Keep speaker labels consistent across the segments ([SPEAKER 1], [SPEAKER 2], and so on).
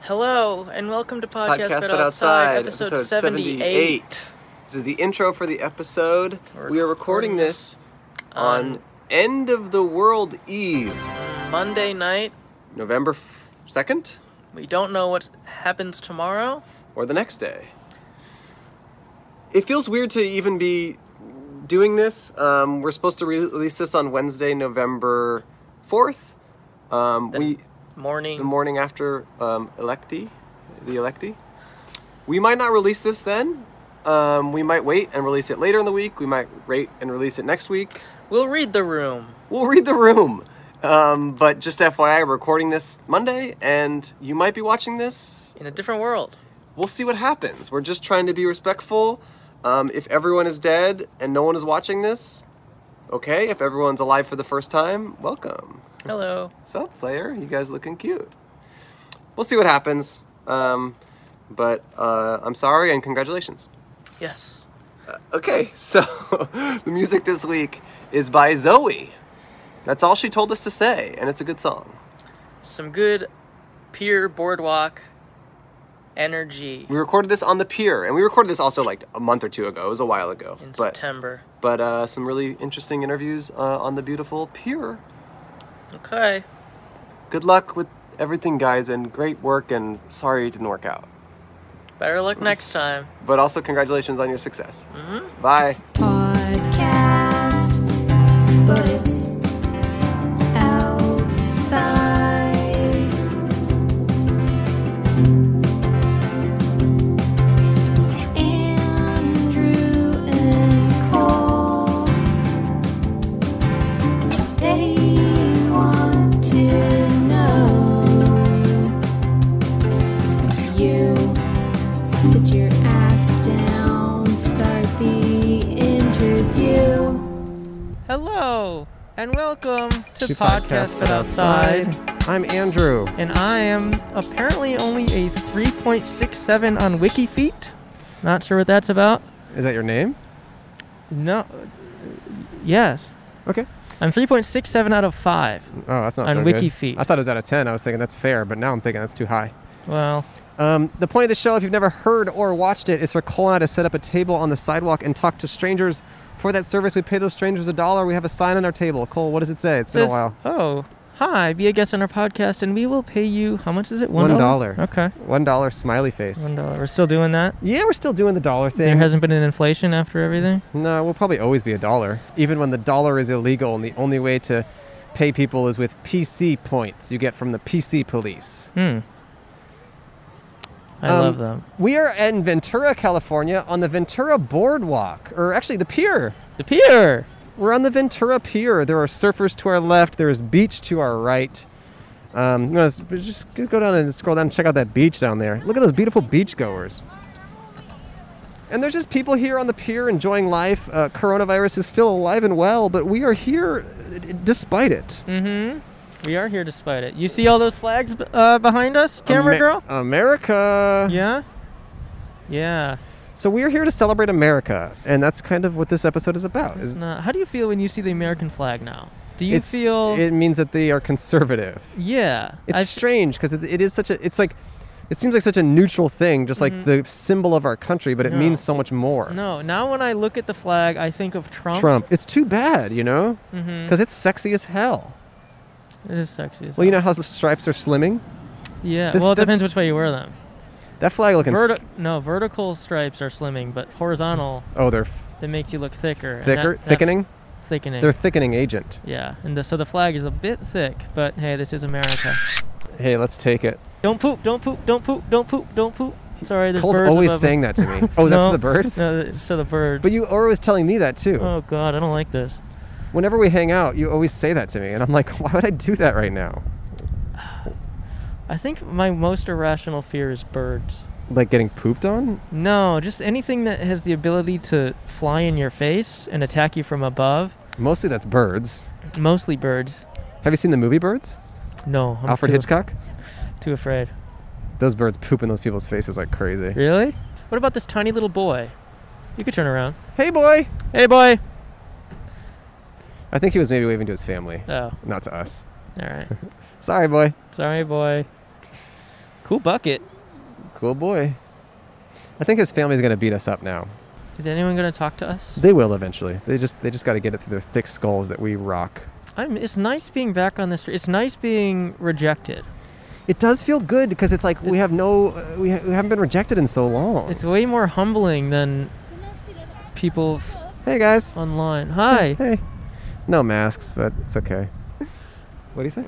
[SPEAKER 1] Hello and welcome to Podcast, but, Outside, episode, 78.
[SPEAKER 2] This is the intro for the episode.
[SPEAKER 1] We're
[SPEAKER 2] we are recording
[SPEAKER 1] recording
[SPEAKER 2] this on End of the World Eve,
[SPEAKER 1] Monday night.
[SPEAKER 2] November f- 2nd
[SPEAKER 1] We don't know what happens tomorrow.
[SPEAKER 2] or the next day. It feels weird to even be doing this. Um, we're supposed to re- release this on Wednesday, November 4th. Um, we
[SPEAKER 1] Morning.
[SPEAKER 2] the morning after um, electee, the electee. We might not release this then. Um, we might wait and release it later in the week. We might rate and release it next week.
[SPEAKER 1] we'll read the room.
[SPEAKER 2] We'll read the room. Um, but just FYI, we're recording this Monday, and you might be watching this.
[SPEAKER 1] In a different world.
[SPEAKER 2] We'll see what happens. We're just trying to be respectful. Um, if everyone is dead and no one is watching this, okay. If everyone's alive for the first time, welcome.
[SPEAKER 1] Hello.
[SPEAKER 2] What's up, Flair? You guys looking cute. We'll see what happens. Um, but uh, I'm sorry and congratulations.
[SPEAKER 1] Yes.
[SPEAKER 2] Okay, so the music this week is by Zoe. That's all she told us to say, and it's a good song.
[SPEAKER 1] Some good pier boardwalk energy
[SPEAKER 2] We recorded this on the pier, and we recorded this also like a month or two ago. It was a while ago.
[SPEAKER 1] in
[SPEAKER 2] but
[SPEAKER 1] September.
[SPEAKER 2] but uh, some really interesting interviews uh, on the beautiful pier.
[SPEAKER 1] Okay.
[SPEAKER 2] Good luck with everything, guys, and great work. And sorry it didn't work out.
[SPEAKER 1] Better luck next time.
[SPEAKER 2] But also congratulations on your success.
[SPEAKER 1] Mm-hmm.
[SPEAKER 2] Bye.
[SPEAKER 3] podcast, but it's outside. It's Andrew and Cole. They want to know you. So sit your ass down, start the interview.
[SPEAKER 1] Hello and welcome to,
[SPEAKER 2] To
[SPEAKER 1] Podcast, But Outside.
[SPEAKER 2] I'm Andrew.
[SPEAKER 1] And I am apparently only a 3.67 on Wiki Feet. Not sure what that's about.
[SPEAKER 2] Is that your name?
[SPEAKER 1] No. uh, Yes.
[SPEAKER 2] Okay.
[SPEAKER 1] I'm 3.67 out of 5.
[SPEAKER 2] Oh, that's not
[SPEAKER 1] On
[SPEAKER 2] so good.
[SPEAKER 1] Wikifeet.
[SPEAKER 2] I thought it was out of 10. I was thinking that's fair, but now I'm thinking that's too high.
[SPEAKER 1] Well,
[SPEAKER 2] Um, the point of the show, if you've never heard or watched it, is for Cole and I to set up a table on the sidewalk and talk to strangers. For that service, we pay those strangers a dollar. We have a sign on our table. Cole, what does it say? It's
[SPEAKER 1] it says,
[SPEAKER 2] been a while.
[SPEAKER 1] oh, hi, be a guest on our podcast and we will pay you, how much is it?
[SPEAKER 2] One dollar.
[SPEAKER 1] Okay.
[SPEAKER 2] One dollar smiley face.
[SPEAKER 1] One dollar. We're still doing that?
[SPEAKER 2] Yeah, we're still doing the dollar
[SPEAKER 1] There
[SPEAKER 2] thing.
[SPEAKER 1] hasn't been an inflation after everything?
[SPEAKER 2] No, we'll probably always be a dollar. Even when the dollar is illegal and the only way to pay people is with PC points you get from the PC police.
[SPEAKER 1] Hmm. I
[SPEAKER 2] Um,
[SPEAKER 1] love them.
[SPEAKER 2] We are in Ventura, California on the Ventura Boardwalk, or actually the pier.
[SPEAKER 1] The pier!
[SPEAKER 2] We're on the Ventura Pier. There are surfers to our left, there's beach to our right. Um, no, it's- it's just go go down and scroll down and check out that beach down there. Look at those beautiful beachgoers. And there's just people here on the pier enjoying life. Uh, coronavirus is still alive and well, but we are here uh, d- despite it.
[SPEAKER 1] Mm hmm. We are here despite it. You see all those flags b- uh, behind us, camera
[SPEAKER 2] Ame-
[SPEAKER 1] girl?
[SPEAKER 2] America.
[SPEAKER 1] Yeah? Yeah.
[SPEAKER 2] So we are here to celebrate America, and that's kind of what this episode is about.
[SPEAKER 1] It's
[SPEAKER 2] is-
[SPEAKER 1] not, how do you feel when you see the American flag now? Do you
[SPEAKER 2] it's-
[SPEAKER 1] feel.
[SPEAKER 2] it means that they are conservative?
[SPEAKER 1] yeah.
[SPEAKER 2] It's
[SPEAKER 1] I f-
[SPEAKER 2] strange because it, it is such a. It's like, it seems like such a neutral thing, just
[SPEAKER 1] Mhm.
[SPEAKER 2] like the symbol of our country, but it
[SPEAKER 1] No.
[SPEAKER 2] means so much more.
[SPEAKER 1] No, now when I look at the flag, I think of Trump.
[SPEAKER 2] Trump. It's too bad, you know,
[SPEAKER 1] Mm-hmm.
[SPEAKER 2] because it's sexy as hell.
[SPEAKER 1] It is sexy. As
[SPEAKER 2] Well, you know how the stripes are slimming.
[SPEAKER 1] Yeah.
[SPEAKER 2] this-
[SPEAKER 1] well, it
[SPEAKER 2] that's-
[SPEAKER 1] depends which way you wear them.
[SPEAKER 2] That flag looking. s-
[SPEAKER 1] Verti- no, vertical stripes are slimming, but horizontal
[SPEAKER 2] oh, they're
[SPEAKER 1] that makes you look thicker. and
[SPEAKER 2] thicker,
[SPEAKER 1] that- that-
[SPEAKER 2] thickening.
[SPEAKER 1] thickening.
[SPEAKER 2] They're thickening agent.
[SPEAKER 1] yeah, and the, so the flag is a bit thick, but hey, this is America.
[SPEAKER 2] Hey, let's take it.
[SPEAKER 1] Don't poop! Don't poop! Don't poop! Don't poop! Don't poop! Sorry, there's
[SPEAKER 2] Cole's
[SPEAKER 1] birds
[SPEAKER 2] always
[SPEAKER 1] above
[SPEAKER 2] saying
[SPEAKER 1] me.
[SPEAKER 2] that to me. Oh, is that
[SPEAKER 1] No,
[SPEAKER 2] to the birds?
[SPEAKER 1] No, th- so the birds.
[SPEAKER 2] But you are always telling me that too.
[SPEAKER 1] Oh God, I don't like this.
[SPEAKER 2] Whenever we hang out, you always say that to me, and I'm like, why would I do that right now?
[SPEAKER 1] I think my most irrational fear is birds.
[SPEAKER 2] Like getting pooped on?
[SPEAKER 1] No, just anything that has the ability to fly in your face and attack you from above.
[SPEAKER 2] Mostly that's birds.
[SPEAKER 1] Mostly birds.
[SPEAKER 2] Have you seen the movie Birds?
[SPEAKER 1] No, I'm
[SPEAKER 2] Alfred
[SPEAKER 1] too,
[SPEAKER 2] Hitchcock?
[SPEAKER 1] Too afraid.
[SPEAKER 2] Those birds poop in those people's faces like crazy.
[SPEAKER 1] Really? What about this tiny little boy? You could turn around.
[SPEAKER 2] Hey, boy!
[SPEAKER 1] Hey, boy.
[SPEAKER 2] I think he was maybe waving to his family,
[SPEAKER 1] Oh, all
[SPEAKER 2] not to us.
[SPEAKER 1] right.
[SPEAKER 2] Sorry, boy.
[SPEAKER 1] Sorry, boy. Cool bucket.
[SPEAKER 2] Cool boy. I think his family's gonna beat us up now.
[SPEAKER 1] Is anyone going to talk to us?
[SPEAKER 2] They will eventually. They just they just got to get it through their thick skulls that we rock.
[SPEAKER 1] I'm, it's nice being back on the street. It's nice being rejected.
[SPEAKER 2] It does feel good because it's like we have no uh, we, ha- we haven't been rejected in so long.
[SPEAKER 1] It's way more humbling than people f-
[SPEAKER 2] hey guys.
[SPEAKER 1] online. Hi.
[SPEAKER 2] Hey. No masks, but it's okay. What do you say?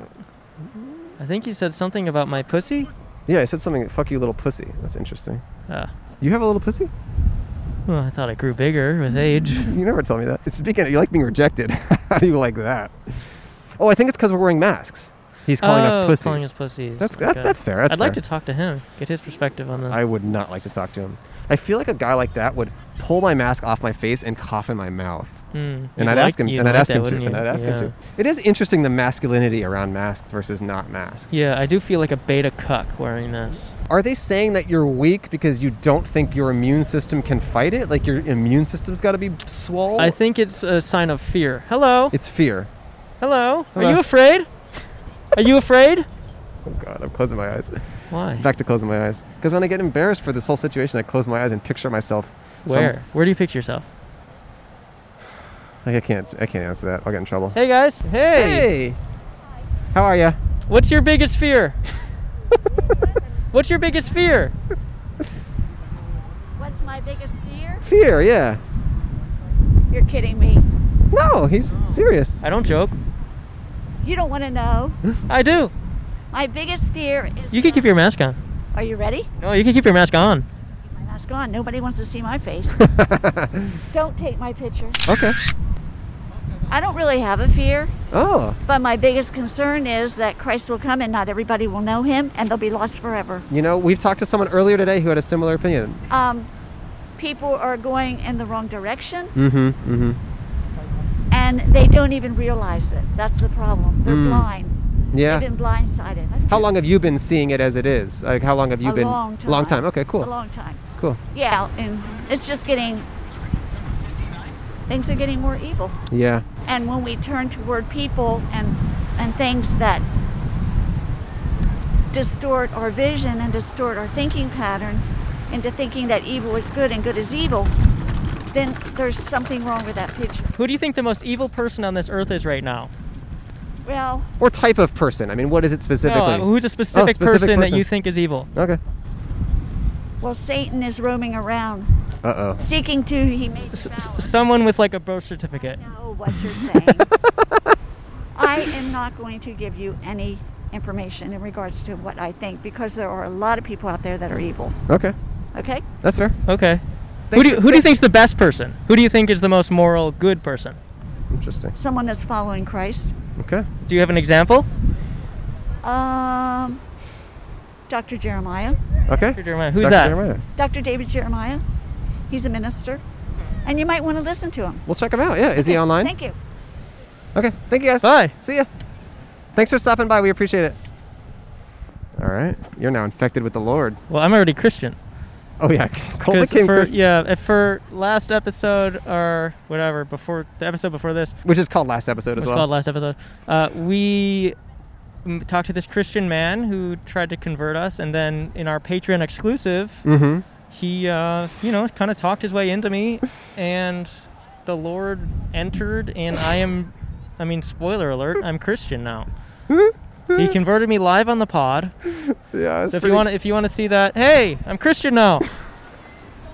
[SPEAKER 1] I think you said something about my pussy.
[SPEAKER 2] Yeah, I said something. Fuck you, little pussy. That's interesting.
[SPEAKER 1] Uh,
[SPEAKER 2] You have a little pussy?
[SPEAKER 1] well, I thought I grew bigger with age.
[SPEAKER 2] You never tell me that. Speaking of, you like being rejected. How do you like that? Oh, I think it's because we're wearing masks. He's calling us
[SPEAKER 1] Oh,
[SPEAKER 2] pussies.
[SPEAKER 1] Calling us pussies.
[SPEAKER 2] That's- that- that's fair, that's
[SPEAKER 1] I'd like to
[SPEAKER 2] fair.
[SPEAKER 1] talk to him, get his perspective on the.
[SPEAKER 2] I would not like to talk to him. I feel like a guy like that would pull my mask off my face and cough in my mouth.
[SPEAKER 1] Mm,
[SPEAKER 2] And
[SPEAKER 1] you'd
[SPEAKER 2] I'd
[SPEAKER 1] like-
[SPEAKER 2] ask him,
[SPEAKER 1] you'd
[SPEAKER 2] and I'd
[SPEAKER 1] like
[SPEAKER 2] ask
[SPEAKER 1] that,
[SPEAKER 2] him to,
[SPEAKER 1] wouldn't you?
[SPEAKER 2] and I'd ask
[SPEAKER 1] Yeah.
[SPEAKER 2] him to. It is interesting the masculinity around masks versus not masks.
[SPEAKER 1] Yeah, I do feel like a beta cuck wearing this.
[SPEAKER 2] Are they saying that you're weak because you don't think your immune system can fight it? Like your immune system's got to be swole?
[SPEAKER 1] I think it's a sign of fear. Hello.
[SPEAKER 2] it's fear.
[SPEAKER 1] Hello.
[SPEAKER 2] Hello.
[SPEAKER 1] Are you afraid? Are you afraid?
[SPEAKER 2] Oh God, I'm closing my eyes.
[SPEAKER 1] Why?
[SPEAKER 2] Back to closing my eyes. Because when I get embarrassed for this whole situation, I close my eyes and picture myself. some-
[SPEAKER 1] Where? Where do you picture yourself?
[SPEAKER 2] like I can't. I can't answer that. I'll get in trouble.
[SPEAKER 1] Hey guys. Hey.
[SPEAKER 2] Hey. How are you?
[SPEAKER 1] What's your biggest fear? What's your biggest fear?
[SPEAKER 4] What's my biggest fear?
[SPEAKER 2] Fear. Yeah.
[SPEAKER 4] You're kidding me.
[SPEAKER 2] No, he's serious.
[SPEAKER 1] I don't joke.
[SPEAKER 4] You don't want to know.
[SPEAKER 1] I do.
[SPEAKER 4] My biggest fear is.
[SPEAKER 1] You can keep your mask on.
[SPEAKER 4] Are you ready?
[SPEAKER 1] No, you can keep your mask on.
[SPEAKER 4] My mask on. Nobody wants to see my face.
[SPEAKER 2] okay.
[SPEAKER 4] don't take my picture. I don't really have a fear,
[SPEAKER 2] Oh,
[SPEAKER 4] but my biggest concern is that Christ will come and not everybody will know him and they'll be lost forever.
[SPEAKER 2] you know, we've talked to someone earlier today who had a similar opinion.
[SPEAKER 4] Um, people are going in the wrong direction
[SPEAKER 2] Mm-hmm. Mm-hmm.
[SPEAKER 4] and they don't even realize it. That's the problem. They're
[SPEAKER 1] Hmm.
[SPEAKER 2] Mm.
[SPEAKER 4] blind.
[SPEAKER 2] Yeah.
[SPEAKER 4] They've been blindsided.
[SPEAKER 2] How long have you been seeing it as it is? Like, how long have you
[SPEAKER 4] a
[SPEAKER 2] been?
[SPEAKER 4] long time.
[SPEAKER 2] Long time. Okay, cool.
[SPEAKER 4] A long time.
[SPEAKER 2] cool.
[SPEAKER 4] Yeah, and it's just getting things are getting more evil.
[SPEAKER 2] Yeah.
[SPEAKER 4] And when we turn toward people and and things that distort our vision and distort our thinking pattern into thinking that evil is good and good is evil, then there's something wrong with that picture.
[SPEAKER 1] Who do you think the most evil person on this earth is right now?
[SPEAKER 4] Well,
[SPEAKER 2] Or type of person. I mean, what is it specifically? Oh,
[SPEAKER 1] No, uh, who's a specific,
[SPEAKER 2] specific
[SPEAKER 1] person, that
[SPEAKER 2] person.
[SPEAKER 1] you think is evil?
[SPEAKER 2] okay.
[SPEAKER 4] well, Satan is roaming around
[SPEAKER 2] Uh oh.
[SPEAKER 4] seeking to he may
[SPEAKER 1] S- s-
[SPEAKER 4] devour.
[SPEAKER 1] someone with like a birth certificate.
[SPEAKER 4] know what you're saying. I am not going to give you any information in regards to what I think because there are a lot of people out there that are evil.
[SPEAKER 2] Okay.
[SPEAKER 4] Okay?
[SPEAKER 2] That's fair.
[SPEAKER 1] Okay. Who do you, who do you think's the best person? Who do you think is the most moral, good person?
[SPEAKER 2] Interesting.
[SPEAKER 4] Someone that's following Christ.
[SPEAKER 2] Okay.
[SPEAKER 1] Do you have an example?
[SPEAKER 4] Um, Dr. Jeremiah.
[SPEAKER 2] Okay.
[SPEAKER 1] Dr. Jeremiah. Who's
[SPEAKER 2] Dr.
[SPEAKER 1] that?
[SPEAKER 2] Jeremiah.
[SPEAKER 4] Dr. David Jeremiah. He's a minister. And you might want to listen to him.
[SPEAKER 2] We'll check him out. Yeah. Is he
[SPEAKER 4] Okay,
[SPEAKER 2] online?
[SPEAKER 4] Thank you.
[SPEAKER 2] Okay. Thank you guys.
[SPEAKER 1] Bye.
[SPEAKER 2] See ya. Thanks for stopping by. We appreciate it. All right. You're now infected with the Lord.
[SPEAKER 1] Well, I'm already Christian.
[SPEAKER 2] Oh yeah. Cole
[SPEAKER 1] 'Cause
[SPEAKER 2] became
[SPEAKER 1] for,
[SPEAKER 2] Christian,
[SPEAKER 1] yeah, if for last episode or whatever before the episode before this,
[SPEAKER 2] which is called last episode
[SPEAKER 1] which
[SPEAKER 2] as
[SPEAKER 1] was
[SPEAKER 2] well.
[SPEAKER 1] called last episode, uh, we mm, talked to this Christian man who tried to convert us, and then in our Patreon exclusive,
[SPEAKER 2] mm-hmm.
[SPEAKER 1] he uh, you know kind of talked his way into me and the lord entered and i am i mean spoiler alert i'm christian now he converted me live on the pod
[SPEAKER 2] Yeah. it's
[SPEAKER 1] so if
[SPEAKER 2] pretty-
[SPEAKER 1] you want to if you want to see that hey i'm christian now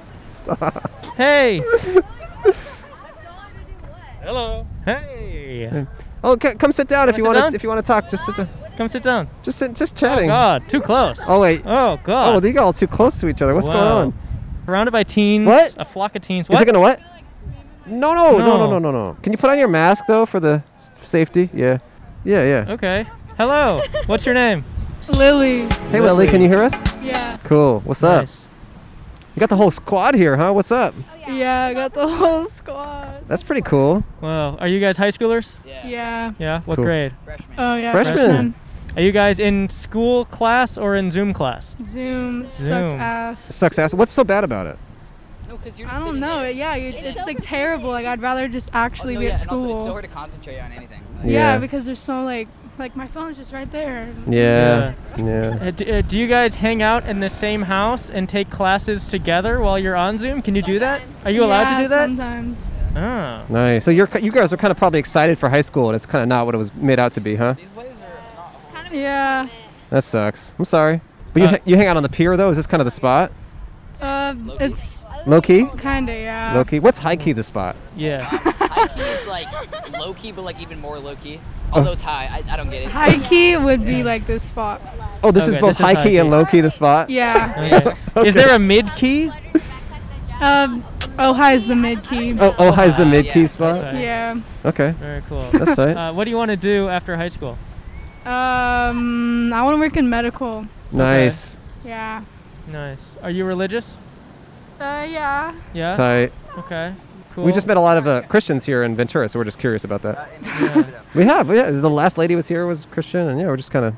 [SPEAKER 1] hey hello hey
[SPEAKER 2] Oh, c- come sit down if
[SPEAKER 1] Wanna
[SPEAKER 2] you
[SPEAKER 1] sit
[SPEAKER 2] want
[SPEAKER 1] down?
[SPEAKER 2] to. If you want to talk, just sit. down.
[SPEAKER 1] come sit down
[SPEAKER 2] Just sit, just chatting.
[SPEAKER 1] god too close
[SPEAKER 2] Oh, wait.
[SPEAKER 1] oh god
[SPEAKER 2] Oh, they got all too close to each other. What's going
[SPEAKER 1] Wow.
[SPEAKER 2] on?
[SPEAKER 1] surrounded by teens
[SPEAKER 2] What?
[SPEAKER 1] a flock of teens
[SPEAKER 2] Is
[SPEAKER 1] what
[SPEAKER 2] it gonna what? No, no, no, no,
[SPEAKER 1] No.
[SPEAKER 2] no, no, no. Can you put on your mask though for the s- safety? Yeah, yeah, yeah.
[SPEAKER 1] okay hello what's your name
[SPEAKER 5] Lily.
[SPEAKER 2] Hey, Lily, can you hear us?
[SPEAKER 5] Yeah.
[SPEAKER 2] Cool. What's up?
[SPEAKER 1] Nice.
[SPEAKER 2] You got the whole squad here, huh? What's up?
[SPEAKER 5] Yeah, I got the whole squad.
[SPEAKER 2] That's pretty cool.
[SPEAKER 1] Wow. Are you guys high schoolers?
[SPEAKER 5] Yeah.
[SPEAKER 1] Yeah. What
[SPEAKER 2] Cool.
[SPEAKER 1] grade?
[SPEAKER 5] Oh yeah.
[SPEAKER 2] Freshman.
[SPEAKER 1] Are you guys in school class or in Zoom class?
[SPEAKER 5] freshman. Zoom sucks
[SPEAKER 1] Zoom.
[SPEAKER 5] ass.
[SPEAKER 2] Sucks ass. What's so bad about it?
[SPEAKER 6] No, because you're. Just
[SPEAKER 5] I don't
[SPEAKER 6] sitting
[SPEAKER 5] know.
[SPEAKER 6] there.
[SPEAKER 5] Yeah, you, it's, like terrible. Like I'd rather just
[SPEAKER 6] Oh,
[SPEAKER 5] actually
[SPEAKER 6] no,
[SPEAKER 5] be
[SPEAKER 6] yeah,
[SPEAKER 5] at
[SPEAKER 6] and also,
[SPEAKER 5] school.
[SPEAKER 6] it's so hard to concentrate on anything. Like,
[SPEAKER 5] yeah.
[SPEAKER 2] Yeah.
[SPEAKER 5] because there's so like Like my phone's just right there.
[SPEAKER 2] Yeah. Yeah.
[SPEAKER 1] Uh, do, uh, do you guys hang out in the same house and take classes together while you're on Zoom? Can you do that? Are you allowed
[SPEAKER 5] Yeah,
[SPEAKER 1] to do that?
[SPEAKER 5] Sometimes.
[SPEAKER 1] Oh.
[SPEAKER 2] Nice. So you're ki- you guys are kind of probably excited for high school, and it's kind of not what it was made out to be, huh?
[SPEAKER 5] Yeah.
[SPEAKER 2] That sucks. I'm sorry. But you,
[SPEAKER 1] Uh,
[SPEAKER 2] ha- you hang out on the pier though. Is this kind of the spot?
[SPEAKER 5] Uh, it's
[SPEAKER 2] Low key.
[SPEAKER 5] kinda yeah.
[SPEAKER 2] Low key. What's high key the spot?
[SPEAKER 1] Oh, Yeah.
[SPEAKER 6] High key is like low key, but like even more low key. Although it's high, I, I don't get it.
[SPEAKER 5] High key would be like this spot.
[SPEAKER 2] Oh, this is
[SPEAKER 1] Okay,
[SPEAKER 2] both
[SPEAKER 1] this is
[SPEAKER 2] high
[SPEAKER 1] high
[SPEAKER 2] key, and
[SPEAKER 1] key.
[SPEAKER 2] low key the spot.
[SPEAKER 5] Yeah.
[SPEAKER 1] Okay. Is there a mid key?
[SPEAKER 5] Um, Ojai is the mid key.
[SPEAKER 2] Oh, oh, high's the
[SPEAKER 6] Uh,
[SPEAKER 2] mid key
[SPEAKER 6] yeah.
[SPEAKER 2] spot.
[SPEAKER 5] Yeah.
[SPEAKER 2] Okay.
[SPEAKER 1] Very cool.
[SPEAKER 2] That's tight.
[SPEAKER 1] Uh, what do you want to do after high school?
[SPEAKER 5] Um, I want to work in medical.
[SPEAKER 2] nice.
[SPEAKER 5] Yeah.
[SPEAKER 1] Nice. Are you religious?
[SPEAKER 5] Uh, yeah.
[SPEAKER 1] Yeah.
[SPEAKER 2] Tight.
[SPEAKER 1] Okay. Cool.
[SPEAKER 2] We just met a lot of uh, Christians here in Ventura, so we're just curious about
[SPEAKER 6] uh,
[SPEAKER 2] that.
[SPEAKER 1] Yeah.
[SPEAKER 2] We have. Yeah, the last lady was here was Christian, and yeah, we're just kind of,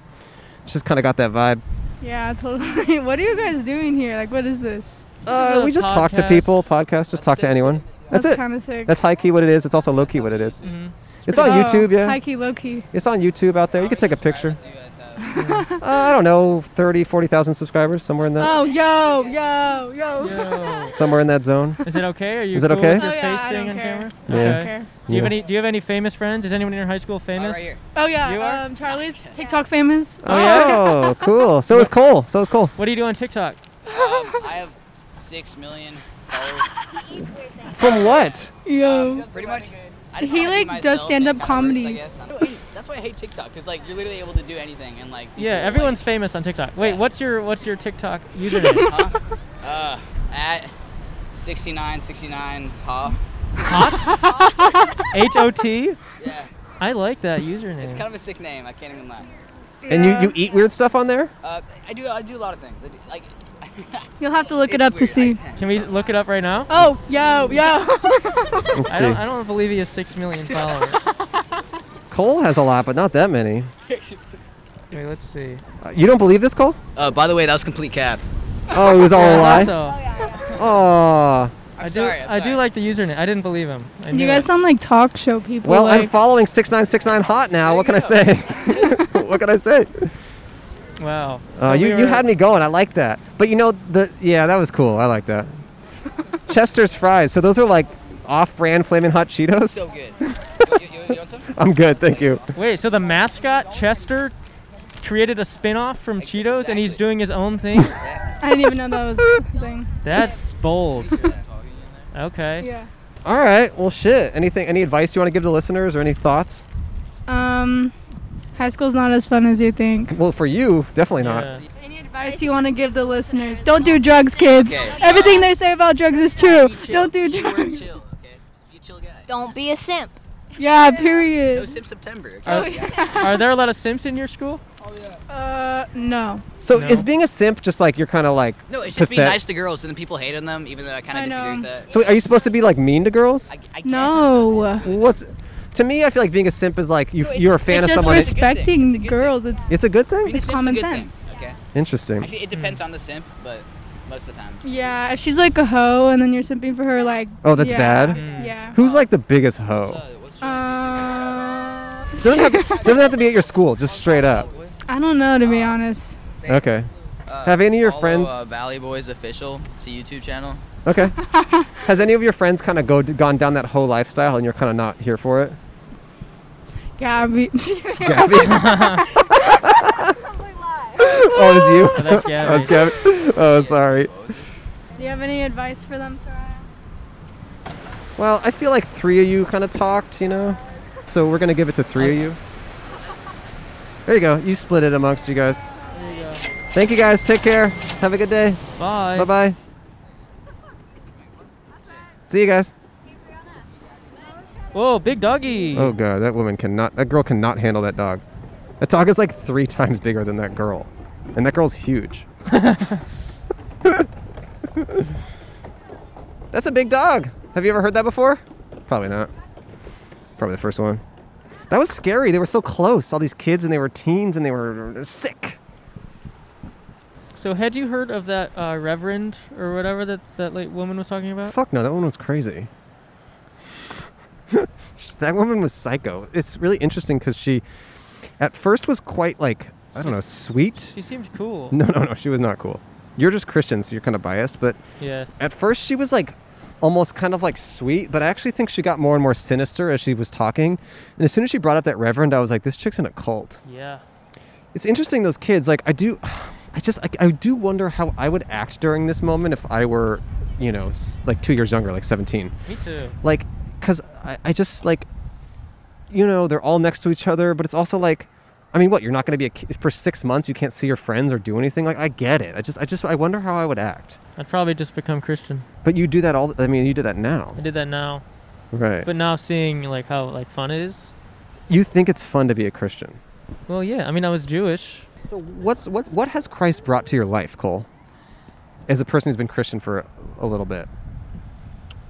[SPEAKER 2] just kind of got that vibe.
[SPEAKER 5] Yeah, totally. what are you guys doing here? Like, what is this?
[SPEAKER 2] Uh,
[SPEAKER 1] a
[SPEAKER 2] we just talk to
[SPEAKER 1] podcast.
[SPEAKER 2] people, podcast, just talk to anyone. That's, it.
[SPEAKER 5] kind of sick.
[SPEAKER 2] That's high key what it is. It's also low key what it is.
[SPEAKER 1] Mhm.
[SPEAKER 2] It's on
[SPEAKER 5] Oh,
[SPEAKER 2] YouTube, yeah.
[SPEAKER 5] High key, low key.
[SPEAKER 2] It's on YouTube out there. You can take a picture.
[SPEAKER 6] You guys have-
[SPEAKER 2] Uh, I don't know, 30, 40,000 subscribers, somewhere in that,
[SPEAKER 5] Oh, yo, yo, yo.
[SPEAKER 1] Yo.
[SPEAKER 2] somewhere in that zone.
[SPEAKER 1] Is it okay? Are you
[SPEAKER 2] Is it
[SPEAKER 1] cool
[SPEAKER 2] okay?
[SPEAKER 1] with your
[SPEAKER 5] Oh, yeah,
[SPEAKER 1] face
[SPEAKER 5] I
[SPEAKER 1] thing
[SPEAKER 5] don't
[SPEAKER 1] on
[SPEAKER 5] care.
[SPEAKER 1] camera?
[SPEAKER 5] I
[SPEAKER 2] Yeah.
[SPEAKER 5] don't care.
[SPEAKER 1] Do you have
[SPEAKER 2] Yeah.
[SPEAKER 1] any Do you have any famous friends? Is anyone in your high school
[SPEAKER 6] Oh,
[SPEAKER 1] famous?
[SPEAKER 6] right here.
[SPEAKER 5] Oh yeah,
[SPEAKER 1] You are?
[SPEAKER 5] um, Charlie's TikTok famous.
[SPEAKER 2] Oh, cool. So is Cole. So is Cole.
[SPEAKER 1] What do you do on TikTok?
[SPEAKER 6] Um, I have six million followers.
[SPEAKER 2] From what?
[SPEAKER 5] Yo.
[SPEAKER 6] Pretty much. I
[SPEAKER 5] Oh. He,
[SPEAKER 6] wanna be
[SPEAKER 5] like, does
[SPEAKER 6] myself and
[SPEAKER 5] stand-up
[SPEAKER 6] kinda
[SPEAKER 5] comedy.
[SPEAKER 6] works, I guess. That's why I hate TikTok, because like you're literally able to do anything and like. people,
[SPEAKER 1] Yeah,
[SPEAKER 6] like-
[SPEAKER 1] everyone's famous on TikTok. Wait,
[SPEAKER 6] Yeah.
[SPEAKER 1] what's your what's your TikTok username?
[SPEAKER 6] Huh? Uh, at 69, 69, ha.
[SPEAKER 1] H O T.
[SPEAKER 6] Yeah,
[SPEAKER 1] I like that
[SPEAKER 6] it's
[SPEAKER 1] username.
[SPEAKER 6] kind of a sick name. I can't even lie.
[SPEAKER 2] And you, you eat weird stuff on there?
[SPEAKER 6] Uh, I do I do a lot of things. I do, like.
[SPEAKER 5] You'll have to look it
[SPEAKER 6] it's
[SPEAKER 5] up to
[SPEAKER 6] weird,
[SPEAKER 5] see.
[SPEAKER 6] I-
[SPEAKER 1] Can we look it up right now?
[SPEAKER 5] Oh, yo, yo.
[SPEAKER 2] Let's
[SPEAKER 1] I don't I
[SPEAKER 2] see.
[SPEAKER 1] don't believe he has six million followers.
[SPEAKER 2] Cole has a lot, but not that many.
[SPEAKER 1] Wait, let's see.
[SPEAKER 2] Uh, You don't believe this, Cole?
[SPEAKER 6] Uh, by the way, that was complete cab.
[SPEAKER 2] Oh, it was all a
[SPEAKER 1] Yeah, that's
[SPEAKER 2] lie.
[SPEAKER 1] all.
[SPEAKER 2] Oh.
[SPEAKER 1] I do
[SPEAKER 6] sorry, I'm
[SPEAKER 1] I do
[SPEAKER 6] sorry.
[SPEAKER 1] like the username. I didn't believe him. I knew
[SPEAKER 5] you guys
[SPEAKER 1] it.
[SPEAKER 5] sound like talk show people.
[SPEAKER 2] Well,
[SPEAKER 5] like,
[SPEAKER 2] I'm following 6969 Hot now. What can I say? what can I say?
[SPEAKER 1] Wow. So
[SPEAKER 2] Uh, you,
[SPEAKER 1] we
[SPEAKER 2] you
[SPEAKER 1] were-
[SPEAKER 2] had me going. I like that. But you know the yeah that was cool. I like that. Chester's fries. So those are like off-brand Flamin' Hot Cheetos.
[SPEAKER 6] So good. you, you, you want some?
[SPEAKER 2] I'm good, thank you.
[SPEAKER 1] Wait, so the mascot Chester created a spin-off from
[SPEAKER 6] Ex-
[SPEAKER 1] Cheetos and he's
[SPEAKER 6] exactly.
[SPEAKER 1] doing his own thing?
[SPEAKER 5] I didn't even know that was a thing.
[SPEAKER 1] That's bold. Okay.
[SPEAKER 5] Yeah.
[SPEAKER 2] All right. Well, shit. Anything? Any advice you want to give to listeners or any thoughts?
[SPEAKER 5] Um, high school's not as fun as you think.
[SPEAKER 2] Well, for you, definitely
[SPEAKER 1] Yeah.
[SPEAKER 2] not.
[SPEAKER 5] Any advice you want to give the listeners? Don't do drugs, kids.
[SPEAKER 6] Okay.
[SPEAKER 5] Everything they say about drugs is true. Don't do drugs.
[SPEAKER 6] Chill, okay? Just be a chill guy.
[SPEAKER 7] Don't be a simp.
[SPEAKER 5] Yeah,
[SPEAKER 6] No
[SPEAKER 5] period.
[SPEAKER 6] Sim September. Okay?
[SPEAKER 5] Oh,
[SPEAKER 1] Are, are there a lot of simps in your school?
[SPEAKER 5] Uh, no.
[SPEAKER 2] So
[SPEAKER 1] No.
[SPEAKER 2] is being a simp just like you're kind of like?
[SPEAKER 6] no, it's just being
[SPEAKER 2] Pathetic.
[SPEAKER 6] nice to girls, and then people hate on them, even though I kind
[SPEAKER 5] I
[SPEAKER 6] of disagree
[SPEAKER 5] know.
[SPEAKER 6] with that.
[SPEAKER 2] So are you supposed to be like mean to girls?
[SPEAKER 6] I, I
[SPEAKER 5] No.
[SPEAKER 2] What's? To me, I feel like being a simp is like you, you're a fan
[SPEAKER 5] It's
[SPEAKER 2] of
[SPEAKER 5] just
[SPEAKER 2] someone.
[SPEAKER 6] res-
[SPEAKER 5] respecting girls. It's
[SPEAKER 2] it's a good thing.
[SPEAKER 5] It's common sense.
[SPEAKER 6] Okay.
[SPEAKER 2] Interesting.
[SPEAKER 6] Actually, it depends on the simp, but most of the time.
[SPEAKER 5] yeah. If she's like a hoe and then you're simping for her, like
[SPEAKER 2] Oh, that's
[SPEAKER 5] yeah,
[SPEAKER 2] bad?
[SPEAKER 1] Mm.
[SPEAKER 5] Yeah.
[SPEAKER 2] Who's like the biggest hoe?
[SPEAKER 6] So, what's your
[SPEAKER 5] Uh,
[SPEAKER 2] Doesn't have to, doesn't have to be at your school. Just straight up.
[SPEAKER 5] I don't know to be honest.
[SPEAKER 2] Okay. Have any of your friends-
[SPEAKER 6] Uh, Valley Boys official. It's a YouTube channel.
[SPEAKER 2] Okay. Has any of your friends kind of go gone down that whole lifestyle and you're kind of not here for it?
[SPEAKER 5] Gabby.
[SPEAKER 2] Gabby. oh, it's you.
[SPEAKER 1] Oh, that's
[SPEAKER 2] That was Gabby. Oh, sorry.
[SPEAKER 5] Do you have any advice for them, Soraya?
[SPEAKER 2] Well, I feel like three of you kind of talked, you know. So we're gonna give it to three of you. There you go. You split it amongst you guys. Thank you guys. Take care. Have a good day.
[SPEAKER 1] Bye.
[SPEAKER 2] Bye bye. See you guys.
[SPEAKER 1] Whoa, big doggy.
[SPEAKER 2] Oh god, that woman cannot. That girl cannot handle that dog. That dog is like three times bigger than that girl, and that girl's huge. That's a big dog. Have you ever heard that before? Probably not. Probably the first one. That was scary. They were so close. All these kids, and they were teens, and they were sick.
[SPEAKER 1] So had you heard of that uh, reverend or whatever that that late woman was talking about?
[SPEAKER 2] Fuck no, that one was crazy. that woman was psycho. It's really interesting because she at first was quite like I don't know, sweet.
[SPEAKER 1] She seemed cool.
[SPEAKER 2] No, no, no, she was not cool. You're just Christian, so you're kind of biased, but
[SPEAKER 1] Yeah.
[SPEAKER 2] at first she was like almost kind of like sweet, but I actually think she got more and more sinister as she was talking. And as soon as she brought up that reverend, I was like, this chick's in a cult.
[SPEAKER 1] Yeah.
[SPEAKER 2] It's interesting those kids. Like I do, I just I, I do wonder how I would act during this moment if I were, you know, s- like two years younger, like 17.
[SPEAKER 1] Me too.
[SPEAKER 2] Like, cause I, I just like, you know, they're all next to each other, but it's also like. I mean, what? You're not going to be a kid for six months. You can't see your friends or do anything. Like, I get it. I just, I just, I wonder how I would act.
[SPEAKER 1] I'd probably just become Christian.
[SPEAKER 2] But you do that all. I mean, you do that now,
[SPEAKER 1] I did that now,
[SPEAKER 2] right?
[SPEAKER 1] but now seeing like how like fun it is.
[SPEAKER 2] you think it's fun to be a Christian.
[SPEAKER 1] Well, yeah. I mean, I was Jewish.
[SPEAKER 2] So what's what what has Christ brought to your life, Cole? As a person who's been Christian for a, a little bit,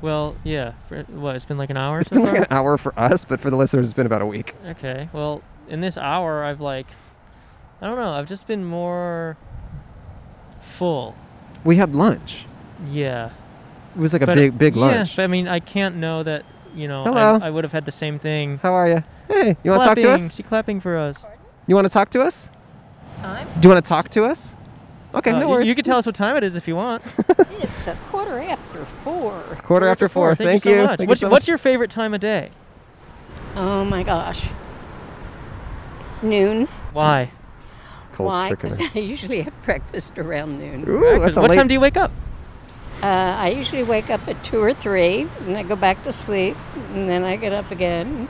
[SPEAKER 1] Well, yeah. For, what? It's been like an hour.
[SPEAKER 2] it's
[SPEAKER 1] so
[SPEAKER 2] been like
[SPEAKER 1] far?
[SPEAKER 2] an hour for us, but for the listeners, it's been about a week.
[SPEAKER 1] Okay. Well, in this hour, I've like, I don't know. I've just been more full.
[SPEAKER 2] We had lunch.
[SPEAKER 1] Yeah.
[SPEAKER 2] It was like a
[SPEAKER 1] But-
[SPEAKER 2] big big
[SPEAKER 1] yeah,
[SPEAKER 2] lunch.
[SPEAKER 1] But I mean, I can't know that. You know,
[SPEAKER 2] Hello.
[SPEAKER 1] I, I would have had the same thing.
[SPEAKER 2] How are you? Hey, you want to talk to
[SPEAKER 1] Clapping.
[SPEAKER 2] us?
[SPEAKER 1] She clapping for us.
[SPEAKER 2] You want to talk to us? Do you want to talk to us? Okay,
[SPEAKER 1] Uh,
[SPEAKER 2] no
[SPEAKER 1] you-
[SPEAKER 2] worries.
[SPEAKER 1] You, can tell us what time it is if you want.
[SPEAKER 7] It's a quarter after four.
[SPEAKER 2] Quarter after four.
[SPEAKER 1] Thank, you. So Much.
[SPEAKER 2] Thank
[SPEAKER 1] what's,
[SPEAKER 2] so
[SPEAKER 1] what's your favorite time of day?
[SPEAKER 7] Oh my gosh. Noon.
[SPEAKER 1] Why?
[SPEAKER 2] Cole's
[SPEAKER 7] Why?
[SPEAKER 2] tricking us.
[SPEAKER 7] Because I usually have breakfast around noon.
[SPEAKER 2] Ooh, that's a
[SPEAKER 1] what
[SPEAKER 2] late.
[SPEAKER 1] time do you wake up?
[SPEAKER 7] Uh, I usually wake up at two or three, and I go back to sleep, and then I get up again,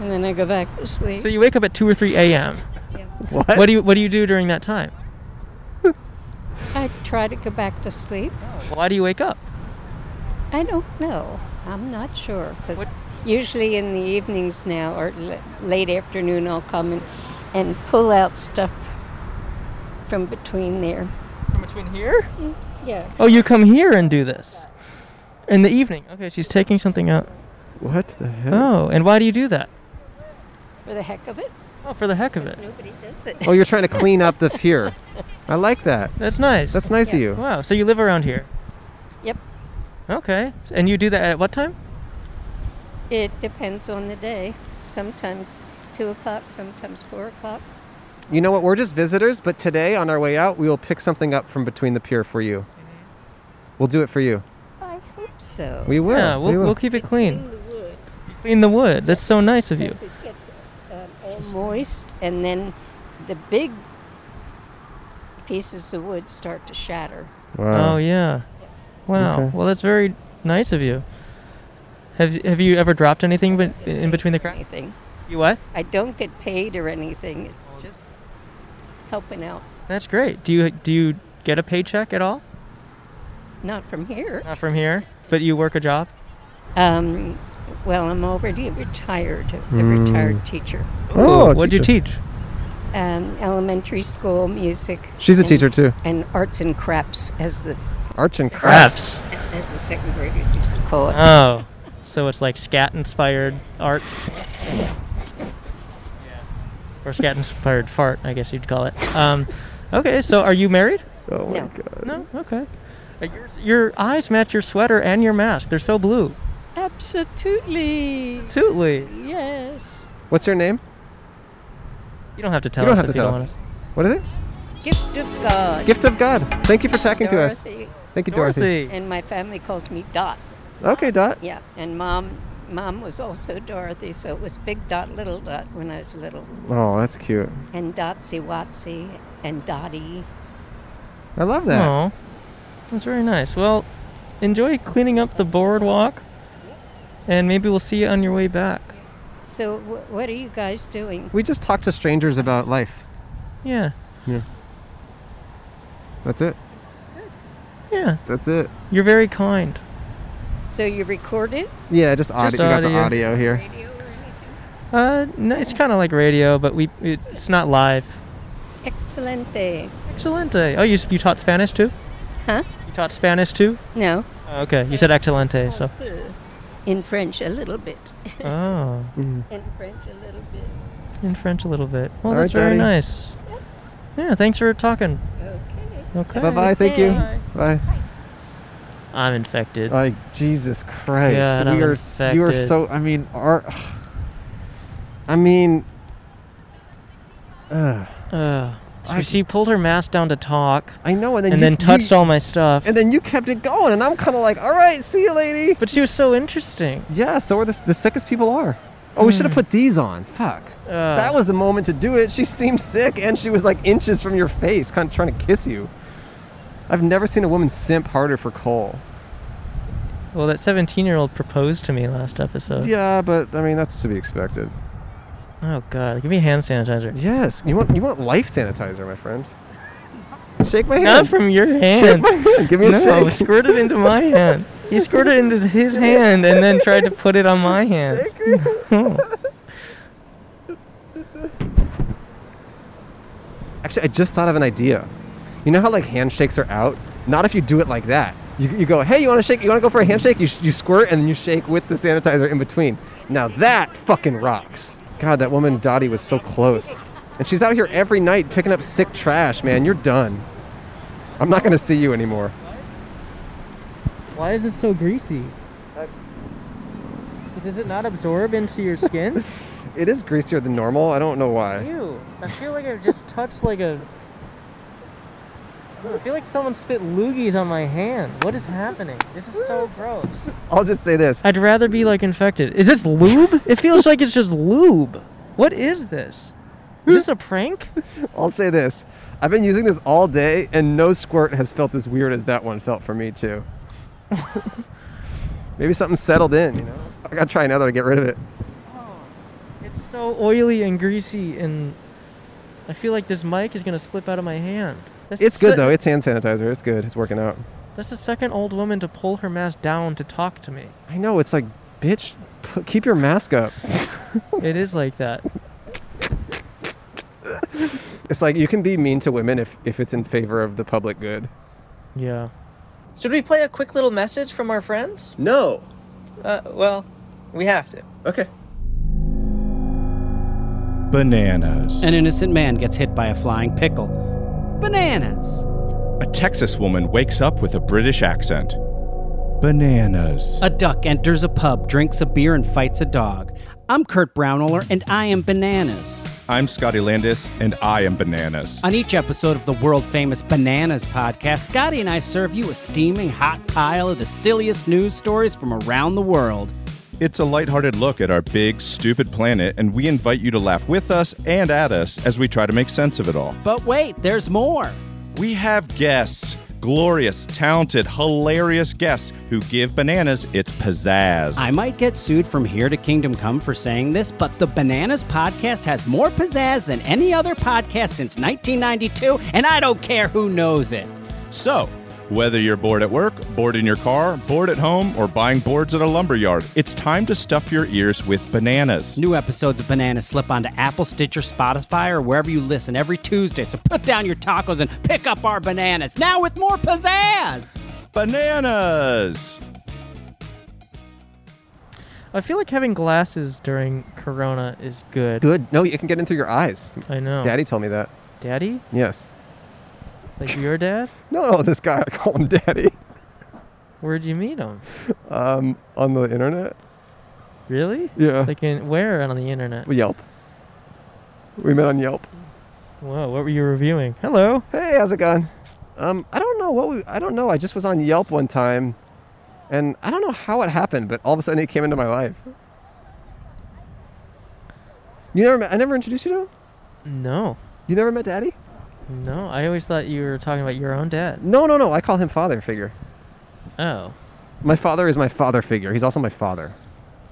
[SPEAKER 7] and then I go back to sleep.
[SPEAKER 1] So you wake up at two or three a.m.
[SPEAKER 2] what?
[SPEAKER 1] What do you What do you do during that time?
[SPEAKER 7] I try to go back to sleep.
[SPEAKER 1] Why do you wake up?
[SPEAKER 7] I don't know. I'm not sure because
[SPEAKER 1] What-
[SPEAKER 7] usually in the evenings now or l- late afternoon, I'll come and, and pull out stuff from between there.
[SPEAKER 1] From between here.
[SPEAKER 7] Yeah.
[SPEAKER 1] Oh, you come here and do this in the evening. Okay, she's taking something out.
[SPEAKER 2] What the heck?
[SPEAKER 1] Oh, and why do you do that?
[SPEAKER 7] For the heck of it,
[SPEAKER 1] Oh, for the heck of it.
[SPEAKER 7] nobody does it.
[SPEAKER 2] oh, you're trying to clean up the pier. I like that.
[SPEAKER 1] That's nice.
[SPEAKER 2] That's nice of you.
[SPEAKER 1] Wow. So you live around here.
[SPEAKER 7] Yep.
[SPEAKER 1] Okay. And you do that at what time?
[SPEAKER 7] It depends on the day. Sometimes two o'clock, sometimes four o'clock.
[SPEAKER 2] You know what? We're just visitors, but today on our way out, we will pick something up from between the pier for you. We'll do it for you.
[SPEAKER 7] I hope so.
[SPEAKER 2] We will.
[SPEAKER 1] Yeah. We'll,
[SPEAKER 2] we will.
[SPEAKER 1] we'll keep it clean.
[SPEAKER 7] Clean the wood
[SPEAKER 1] Clean the wood. That's so nice of you.
[SPEAKER 7] because it gets um, all moist, and then the big pieces of wood start to shatter.
[SPEAKER 2] wow.
[SPEAKER 1] Oh yeah. Wow.
[SPEAKER 2] Okay.
[SPEAKER 1] Well, that's very nice of you. Have Have you ever dropped anything but in between the cracks?
[SPEAKER 7] Anything.
[SPEAKER 1] You what?
[SPEAKER 7] I don't get paid or anything. It's just helping out.
[SPEAKER 1] That's great. Do you Do you get a paycheck at all?
[SPEAKER 7] Not from here.
[SPEAKER 1] Not from here, but you work a job.
[SPEAKER 7] Um, well, I'm already retired, a
[SPEAKER 2] Hmm.
[SPEAKER 7] retired teacher.
[SPEAKER 2] Oh, a
[SPEAKER 1] Ooh, what'd you
[SPEAKER 2] teacher.
[SPEAKER 1] teach?
[SPEAKER 7] Um, elementary school music.
[SPEAKER 2] She's a
[SPEAKER 7] and-
[SPEAKER 2] teacher too.
[SPEAKER 7] And arts and crafts, as the
[SPEAKER 2] Arch and crafts.
[SPEAKER 1] Crafts.
[SPEAKER 7] as the second graders used to call it.
[SPEAKER 1] Oh, so it's like scat inspired art. Or scat inspired fart, I guess you'd call it. Um, okay, so are you married?
[SPEAKER 2] Oh my
[SPEAKER 7] No.
[SPEAKER 2] god.
[SPEAKER 1] No. Okay. Uh, Your, your eyes match your sweater and your mask. They're so blue.
[SPEAKER 7] Absolutely.
[SPEAKER 1] Tootly.
[SPEAKER 7] Yes.
[SPEAKER 2] What's your name?
[SPEAKER 1] You don't have to tell
[SPEAKER 2] you don't
[SPEAKER 1] us
[SPEAKER 2] have to
[SPEAKER 1] if
[SPEAKER 2] tell
[SPEAKER 1] you
[SPEAKER 2] us.
[SPEAKER 1] don't want
[SPEAKER 2] What is it?
[SPEAKER 7] Gift of God.
[SPEAKER 2] Gift of God. Thank you for talking to us.
[SPEAKER 7] Dorothy.
[SPEAKER 2] Thank you,
[SPEAKER 1] us.
[SPEAKER 2] Dorothy.
[SPEAKER 7] And my family calls me Dot.
[SPEAKER 2] Okay, Dot.
[SPEAKER 7] Yeah. And mom, mom was also Dorothy, so it was Big Dot, Little Dot when I was little,
[SPEAKER 2] Oh, that's cute.
[SPEAKER 7] and Dotsy Watsy, and Dottie.
[SPEAKER 2] I love that.
[SPEAKER 1] Oh, that's very nice. Well, enjoy cleaning up the boardwalk, and maybe we'll see you on your way back.
[SPEAKER 7] So wh- what are you guys doing?
[SPEAKER 2] We just talk to strangers about life.
[SPEAKER 1] Yeah.
[SPEAKER 2] That's it.
[SPEAKER 1] Yeah.
[SPEAKER 2] That's it.
[SPEAKER 1] You're very kind.
[SPEAKER 7] So you recorded?
[SPEAKER 2] Yeah, just audio. we got the
[SPEAKER 1] audio.
[SPEAKER 2] audio here.
[SPEAKER 1] Uh, no, it's kind of like radio, but we it, it's not live.
[SPEAKER 7] Excelente.
[SPEAKER 1] Excelente. Oh, you s- you taught Spanish too?
[SPEAKER 7] Huh?
[SPEAKER 1] You taught Spanish too?
[SPEAKER 7] No.
[SPEAKER 1] Oh, okay. You said excelente, so.
[SPEAKER 7] In French, a little bit.
[SPEAKER 1] Oh,
[SPEAKER 7] In French, a little bit.
[SPEAKER 1] in French a little bit. Well,
[SPEAKER 2] All
[SPEAKER 1] that's
[SPEAKER 2] right,
[SPEAKER 1] very
[SPEAKER 2] Daddy.
[SPEAKER 1] nice. Yeah. Thanks for talking.
[SPEAKER 7] Okay.
[SPEAKER 1] Okay.
[SPEAKER 2] Bye bye. Thank you.
[SPEAKER 1] Bye.
[SPEAKER 2] Bye.
[SPEAKER 1] I'm infected.
[SPEAKER 2] Like Jesus Christ,
[SPEAKER 1] God,
[SPEAKER 2] we
[SPEAKER 1] I'm
[SPEAKER 2] are you are
[SPEAKER 1] infected.
[SPEAKER 2] so. I mean, our. I mean, Ugh.
[SPEAKER 1] Uh,
[SPEAKER 2] I-
[SPEAKER 1] she pulled her mask down to talk,
[SPEAKER 2] I know, and then
[SPEAKER 1] and
[SPEAKER 2] you,
[SPEAKER 1] then touched
[SPEAKER 2] you,
[SPEAKER 1] all my stuff.
[SPEAKER 2] and then you kept it going, and I'm kind of like, all right, see you, lady.
[SPEAKER 1] But she was so interesting.
[SPEAKER 2] Yeah, so are the, the sickest people are. Oh, we should
[SPEAKER 1] Hmm.
[SPEAKER 2] have put these on. Fuck.
[SPEAKER 1] Uh,
[SPEAKER 2] that was the moment to do it. She seemed sick, and she was like inches from your face, kind of trying to kiss you. I've never seen a woman simp harder for Cole.
[SPEAKER 1] well. That 17-year-old proposed to me last episode.
[SPEAKER 2] Yeah, but I mean that's to be expected.
[SPEAKER 1] Oh God, give me hand sanitizer.
[SPEAKER 2] Yes, you want you want life sanitizer, my friend. Shake my hand.
[SPEAKER 1] Not from your
[SPEAKER 2] Shake
[SPEAKER 1] hand.
[SPEAKER 2] my hand. Give me
[SPEAKER 1] No,
[SPEAKER 2] a shake.
[SPEAKER 1] squirt it into my hand. He squirted it into his hand and then tried to put it on my hand.
[SPEAKER 2] Actually, I just thought of an idea. You know how like handshakes are out? Not if you do it like that. You, you go, hey, you want to shake? You want to go for a handshake? You, sh- you squirt and then you shake with the sanitizer in between. Now that fucking rocks. God, that woman Dottie was so close. And she's out here every night picking up sick trash, man. You're done. I'm not going to see you anymore.
[SPEAKER 1] Why is it so greasy? Does it not absorb into your skin?
[SPEAKER 2] It is greasier than normal. I don't know why.
[SPEAKER 1] Ew. I feel like I just touched like a. I feel like someone spit loogies on my hand. What is happening? This is so gross.
[SPEAKER 2] I'll just say this.
[SPEAKER 1] I'd rather be like infected. Is this lube? it feels like it's just lube. What is this? Is this a prank?
[SPEAKER 2] I'll say this. I've been using this all day, and no squirt has felt as weird as that one felt for me, too. Maybe something settled in, you know? I gotta try another to get rid of it.
[SPEAKER 1] It's so oily and greasy, and I feel like this mic is gonna slip out of my hand. That's the
[SPEAKER 2] It's good,
[SPEAKER 1] se-
[SPEAKER 2] though. It's hand sanitizer. It's good. It's working out.
[SPEAKER 1] That's the second old woman to pull her mask down to talk to me.
[SPEAKER 2] I know. It's like, bitch, put, keep your mask up.
[SPEAKER 1] it is like that.
[SPEAKER 2] It's like, you can be mean to women if, if it's in favor of the public good.
[SPEAKER 1] Yeah. Should we play a quick little message from our friends?
[SPEAKER 2] No.
[SPEAKER 1] Uh, well, we have to.
[SPEAKER 2] Okay.
[SPEAKER 8] Bananas.
[SPEAKER 9] An innocent man gets hit by a flying pickle. Bananas.
[SPEAKER 8] a Texas woman wakes up with a British accent. Bananas.
[SPEAKER 9] A duck enters a pub, drinks a beer, and fights a dog. I'm Kurt Brownoller, and I am Bananas.
[SPEAKER 8] I'm Scotty Landis, and I am bananas.
[SPEAKER 9] On each episode of the world famous Bananas podcast, Scotty and I serve you a steaming hot pile of the silliest news stories from around the world.
[SPEAKER 8] It's a lighthearted look at our big, stupid planet, and we invite you to laugh with us and at us as we try to make sense of it all.
[SPEAKER 9] But wait, there's more.
[SPEAKER 8] We have guests. Glorious, talented, hilarious guests who give bananas its pizzazz.
[SPEAKER 9] I might get sued from here to Kingdom Come for saying this, but the Bananas podcast has more pizzazz than any other podcast since 1992, and I don't care who knows it.
[SPEAKER 8] So, whether you're bored at work, bored in your car, bored at home, or buying boards at a lumber yard, it's time to stuff your ears with bananas.
[SPEAKER 9] New episodes of Bananas slip onto Apple, Stitcher, Spotify, or wherever you listen every Tuesday. So put down your tacos and pick up our bananas now with more pizzazz.
[SPEAKER 8] Bananas!
[SPEAKER 1] I feel like having glasses during Corona is good.
[SPEAKER 2] Good. No, it can get in through your eyes.
[SPEAKER 1] I know.
[SPEAKER 2] Daddy told me that.
[SPEAKER 1] Daddy?
[SPEAKER 2] Yes.
[SPEAKER 1] Like your dad?
[SPEAKER 2] No, this guy, I call him daddy
[SPEAKER 1] Where'd you meet him?
[SPEAKER 2] um, on the internet.
[SPEAKER 1] Really?
[SPEAKER 2] Yeah.
[SPEAKER 1] Like in where on the internet?
[SPEAKER 2] Yelp. We met on Yelp.
[SPEAKER 1] Whoa, what were you reviewing? Hello.
[SPEAKER 2] Hey, how's it going? Um, I don't know what we. I don't know. I just was on Yelp one time, and I don't know how it happened, but all of a sudden it came into my life. You never. Met, I never introduced you to him.
[SPEAKER 1] No.
[SPEAKER 2] You never met Daddy?
[SPEAKER 1] No, I always thought you were talking about your own dad.
[SPEAKER 2] No, no, no. I call him father figure.
[SPEAKER 1] Oh,
[SPEAKER 2] My father is my father figure. He's also my father.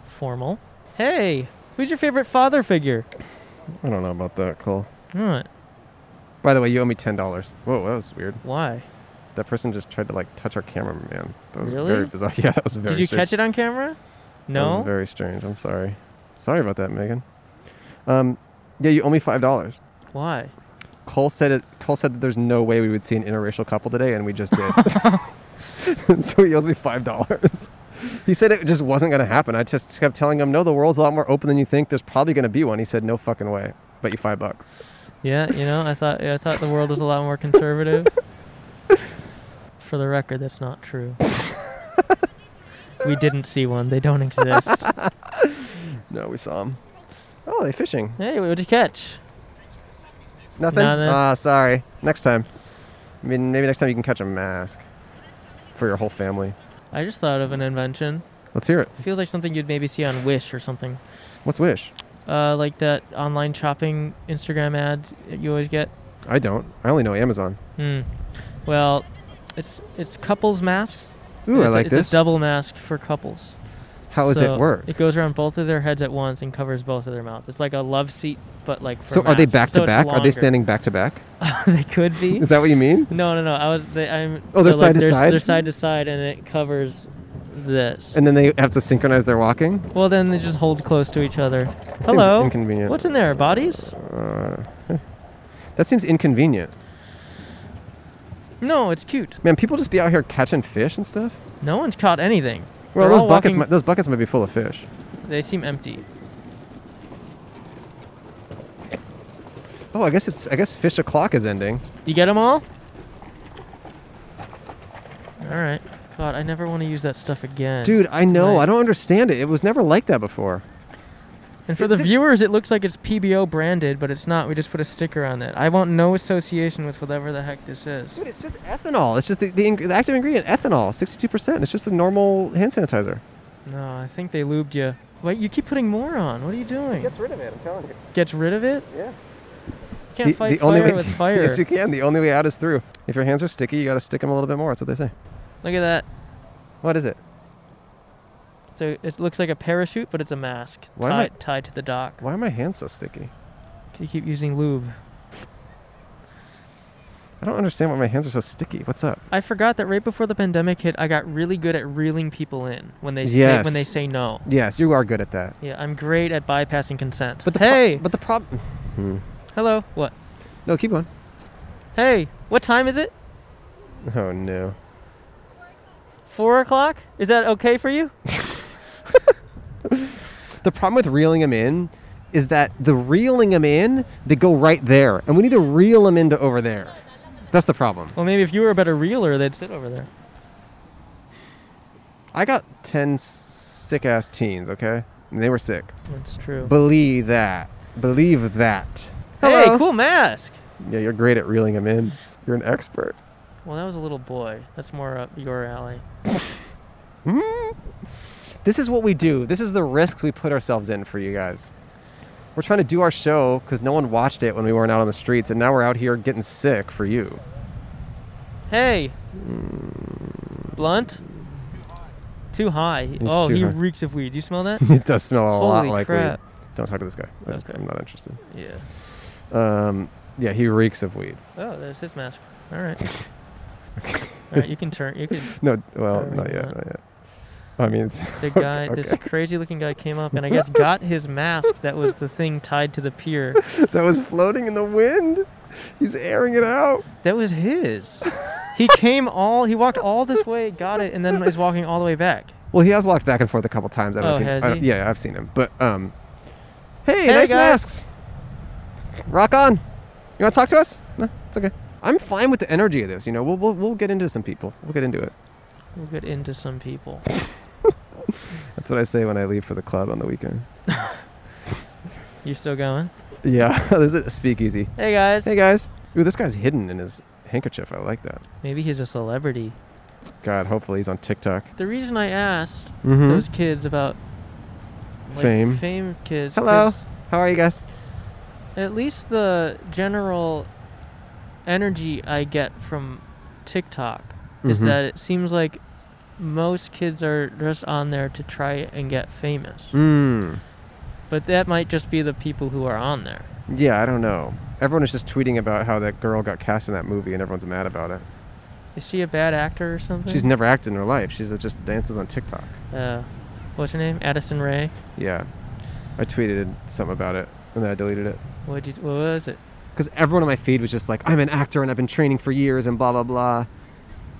[SPEAKER 1] formal. Hey, who's your favorite father figure?
[SPEAKER 2] I don't know about that, Cole.
[SPEAKER 1] What?
[SPEAKER 2] By the way, you owe me ten dollars. Whoa, that was weird.
[SPEAKER 1] Why?
[SPEAKER 2] That person just tried to like touch our cameraman. That was
[SPEAKER 1] Really?
[SPEAKER 2] very bizarre. Yeah, that was very.
[SPEAKER 1] Did you
[SPEAKER 2] strange.
[SPEAKER 1] catch it on camera?
[SPEAKER 2] That
[SPEAKER 1] No.
[SPEAKER 2] was very strange. I'm sorry. Sorry about that, Megan. Um, yeah, you owe me five dollars.
[SPEAKER 1] Why?
[SPEAKER 2] Cole said it. Cole said that there's no way we would see an interracial couple today, and we just did. so he owes me five dollars. He said it just wasn't going to happen. I just kept telling him, "No, the world's a lot more open than you think. There's probably going to be one." He said, "No fucking way." Bet you five bucks.
[SPEAKER 1] Yeah, you know, I thought I thought the world was a lot more conservative. For the record, that's not true. we didn't see one. They don't exist.
[SPEAKER 2] No, we saw him. Oh, they fishing.
[SPEAKER 1] hey, what did you catch?
[SPEAKER 2] Nothing?
[SPEAKER 1] Nothing.
[SPEAKER 2] Ah, sorry. Next time. I mean, maybe next time you can catch a mask for your whole family.
[SPEAKER 1] I just thought of an invention.
[SPEAKER 2] Let's hear it.
[SPEAKER 1] feels like something you'd maybe see on Wish or something.
[SPEAKER 2] What's Wish?
[SPEAKER 1] Uh, like that online shopping Instagram ads you always get.
[SPEAKER 2] I don't. I only know Amazon.
[SPEAKER 1] Hmm. Well, it's it's couples masks.
[SPEAKER 2] Ooh, I
[SPEAKER 1] It's a-
[SPEAKER 2] like
[SPEAKER 1] it's
[SPEAKER 2] this.
[SPEAKER 1] a double mask for couples.
[SPEAKER 2] How does
[SPEAKER 1] So
[SPEAKER 2] it work?
[SPEAKER 1] It goes around both of their heads at once and covers both of their mouths. It's like a love seat, but like. For
[SPEAKER 2] so are they
[SPEAKER 1] masks.
[SPEAKER 2] back
[SPEAKER 1] So
[SPEAKER 2] to
[SPEAKER 1] it's
[SPEAKER 2] back? Are
[SPEAKER 1] longer.
[SPEAKER 2] they standing back to back?
[SPEAKER 1] they could be.
[SPEAKER 2] Is that what you mean?
[SPEAKER 1] No, no, no. I was. They, I'm.
[SPEAKER 2] Oh, they're
[SPEAKER 1] so, like,
[SPEAKER 2] side to
[SPEAKER 1] they're,
[SPEAKER 2] side?
[SPEAKER 1] They're side to side, and it covers this.
[SPEAKER 2] And then they have to synchronize their walking?
[SPEAKER 1] well, then they just hold close to each other.
[SPEAKER 2] seems
[SPEAKER 1] Hello.
[SPEAKER 2] inconvenient.
[SPEAKER 1] What's in there? Bodies?
[SPEAKER 2] Uh, that seems inconvenient.
[SPEAKER 1] No, it's cute.
[SPEAKER 2] Man, people just be out here catching fish and stuff.
[SPEAKER 1] No one's caught anything.
[SPEAKER 2] Well,
[SPEAKER 1] They're
[SPEAKER 2] those
[SPEAKER 1] all
[SPEAKER 2] buckets,
[SPEAKER 1] walking-
[SPEAKER 2] might, those buckets might be full of fish.
[SPEAKER 1] They seem empty.
[SPEAKER 2] Oh, I guess it's I guess fish o'clock is ending.
[SPEAKER 1] You get them all? All right. God, I never want to use that stuff again.
[SPEAKER 2] Dude, I know.
[SPEAKER 1] Right.
[SPEAKER 2] I don't understand it. It was never like that before.
[SPEAKER 1] And for the viewers, it looks like it's PBO branded, but it's not. We just put a sticker on it. I want no association with whatever the heck this is.
[SPEAKER 2] Dude, it's just ethanol. It's just the, the, ing- the active ingredient, ethanol, 62%. It's just a normal hand sanitizer.
[SPEAKER 1] No, I think they lubed you. Wait, you keep putting more on. What are you doing? Gets,
[SPEAKER 2] rid of it, I'm telling you.
[SPEAKER 1] rid of it?
[SPEAKER 2] Yeah.
[SPEAKER 1] You can't fight fire
[SPEAKER 2] way,
[SPEAKER 1] with fire.
[SPEAKER 2] yes, you can. The only way out is through. If your hands are sticky, you got to stick them a little bit more. That's what they say.
[SPEAKER 1] Look at that.
[SPEAKER 2] What is it?
[SPEAKER 1] So it looks like a parachute, but it's a mask
[SPEAKER 2] Why am I-
[SPEAKER 1] tied, tied to the dock.
[SPEAKER 2] Why are my hands so sticky?
[SPEAKER 1] You keep using lube.
[SPEAKER 2] I don't understand why my hands are so sticky. What's up?
[SPEAKER 1] I forgot that right before the pandemic hit, I got really good at reeling people in when they say
[SPEAKER 2] Yes.
[SPEAKER 1] when they say no.
[SPEAKER 2] Yes, you are good at that.
[SPEAKER 1] Yeah, I'm great at bypassing consent.
[SPEAKER 2] But the pro-
[SPEAKER 1] hey,
[SPEAKER 2] but the problem.
[SPEAKER 1] hello, what?
[SPEAKER 2] No, keep going.
[SPEAKER 1] Hey, what time is it?
[SPEAKER 2] Oh no.
[SPEAKER 1] Four o'clock? Is that okay for you?
[SPEAKER 2] The problem with reeling them in is that the reeling them in, they go right there, and we need to reel them into over there. That's the problem.
[SPEAKER 1] Well, maybe if you were a better reeler, they'd sit over there.
[SPEAKER 2] I got ten sick ass teens. Okay, and they were sick.
[SPEAKER 1] That's true.
[SPEAKER 2] Believe that. Believe that.
[SPEAKER 1] hey, cool mask.
[SPEAKER 2] Yeah, you're great at reeling them in. You're an expert.
[SPEAKER 1] Well, that was a little boy. That's more up your alley.
[SPEAKER 2] This is what we do. This is the risks we put ourselves in for you guys. We're trying to do our show because no one watched it when we weren't out on the streets, and now we're out here getting sick for you.
[SPEAKER 1] Hey, blunt. Too high. oh,
[SPEAKER 2] Mm. too
[SPEAKER 1] he
[SPEAKER 2] high.
[SPEAKER 1] reeks of weed. You smell that?
[SPEAKER 2] It does smell a lot
[SPEAKER 1] Holy
[SPEAKER 2] like
[SPEAKER 1] crap.
[SPEAKER 2] weed. Don't talk to this guy. I just-
[SPEAKER 1] Okay.
[SPEAKER 2] I'm not interested.
[SPEAKER 1] yeah.
[SPEAKER 2] Um, yeah, he reeks of weed.
[SPEAKER 1] Oh, there's his mask. All right. All right, you can turn. You can.
[SPEAKER 2] No, well,
[SPEAKER 1] Probably
[SPEAKER 2] not yet,
[SPEAKER 1] not.
[SPEAKER 2] not yet. I mean,
[SPEAKER 1] The guy, this crazy-looking guy, came up and I guess got his mask that was the thing tied to the pier.
[SPEAKER 2] that was floating in the wind. He's airing it out.
[SPEAKER 1] That was his. He came all. He walked all this way, got it, and then is walking all the way back.
[SPEAKER 2] Well, he has walked back and forth a couple times. I don't know
[SPEAKER 1] Oh,
[SPEAKER 2] if he,
[SPEAKER 1] has
[SPEAKER 2] I don't-
[SPEAKER 1] he?
[SPEAKER 2] Yeah, I've seen him. But um, hey,
[SPEAKER 1] Hey,
[SPEAKER 2] nice
[SPEAKER 1] guys.
[SPEAKER 2] masks. Rock on. You want to talk to us? No, it's okay. I'm fine with the energy of this. You know, we'll we'll, we'll get into some people. We'll get into it.
[SPEAKER 1] We'll get into some people.
[SPEAKER 2] That's what I say when I leave for the club on the weekend.
[SPEAKER 1] You still going?
[SPEAKER 2] Yeah, there's a speakeasy.
[SPEAKER 1] Hey guys.
[SPEAKER 2] Hey guys. Ooh, this guy's hidden in his handkerchief. I like that.
[SPEAKER 1] Maybe he's a celebrity.
[SPEAKER 2] God, hopefully he's on TikTok.
[SPEAKER 1] The reason I asked
[SPEAKER 2] Mhm.
[SPEAKER 1] those kids about like,
[SPEAKER 2] Fame.
[SPEAKER 1] fame kids.
[SPEAKER 2] Hello.
[SPEAKER 1] 'cause
[SPEAKER 2] How are you guys?
[SPEAKER 1] At least the general energy I get from TikTok is
[SPEAKER 2] Mhm.
[SPEAKER 1] that it seems like most kids are just on there to try and get famous.
[SPEAKER 2] Hmm.
[SPEAKER 1] But that might just be the people who are on there.
[SPEAKER 2] Yeah, I don't know. Everyone is just tweeting about how that girl got cast in that movie, and everyone's mad about it.
[SPEAKER 1] Is she a bad actor or something?
[SPEAKER 2] She's never acted in her life. She's just dances on TikTok.
[SPEAKER 1] Uh, what's her name? Addison Ray.
[SPEAKER 2] Yeah, I tweeted something about it, and then I deleted it
[SPEAKER 1] What did? What was it?
[SPEAKER 2] because everyone on my feed was just like, "I'm an actor and I've been training for years," and blah blah blah.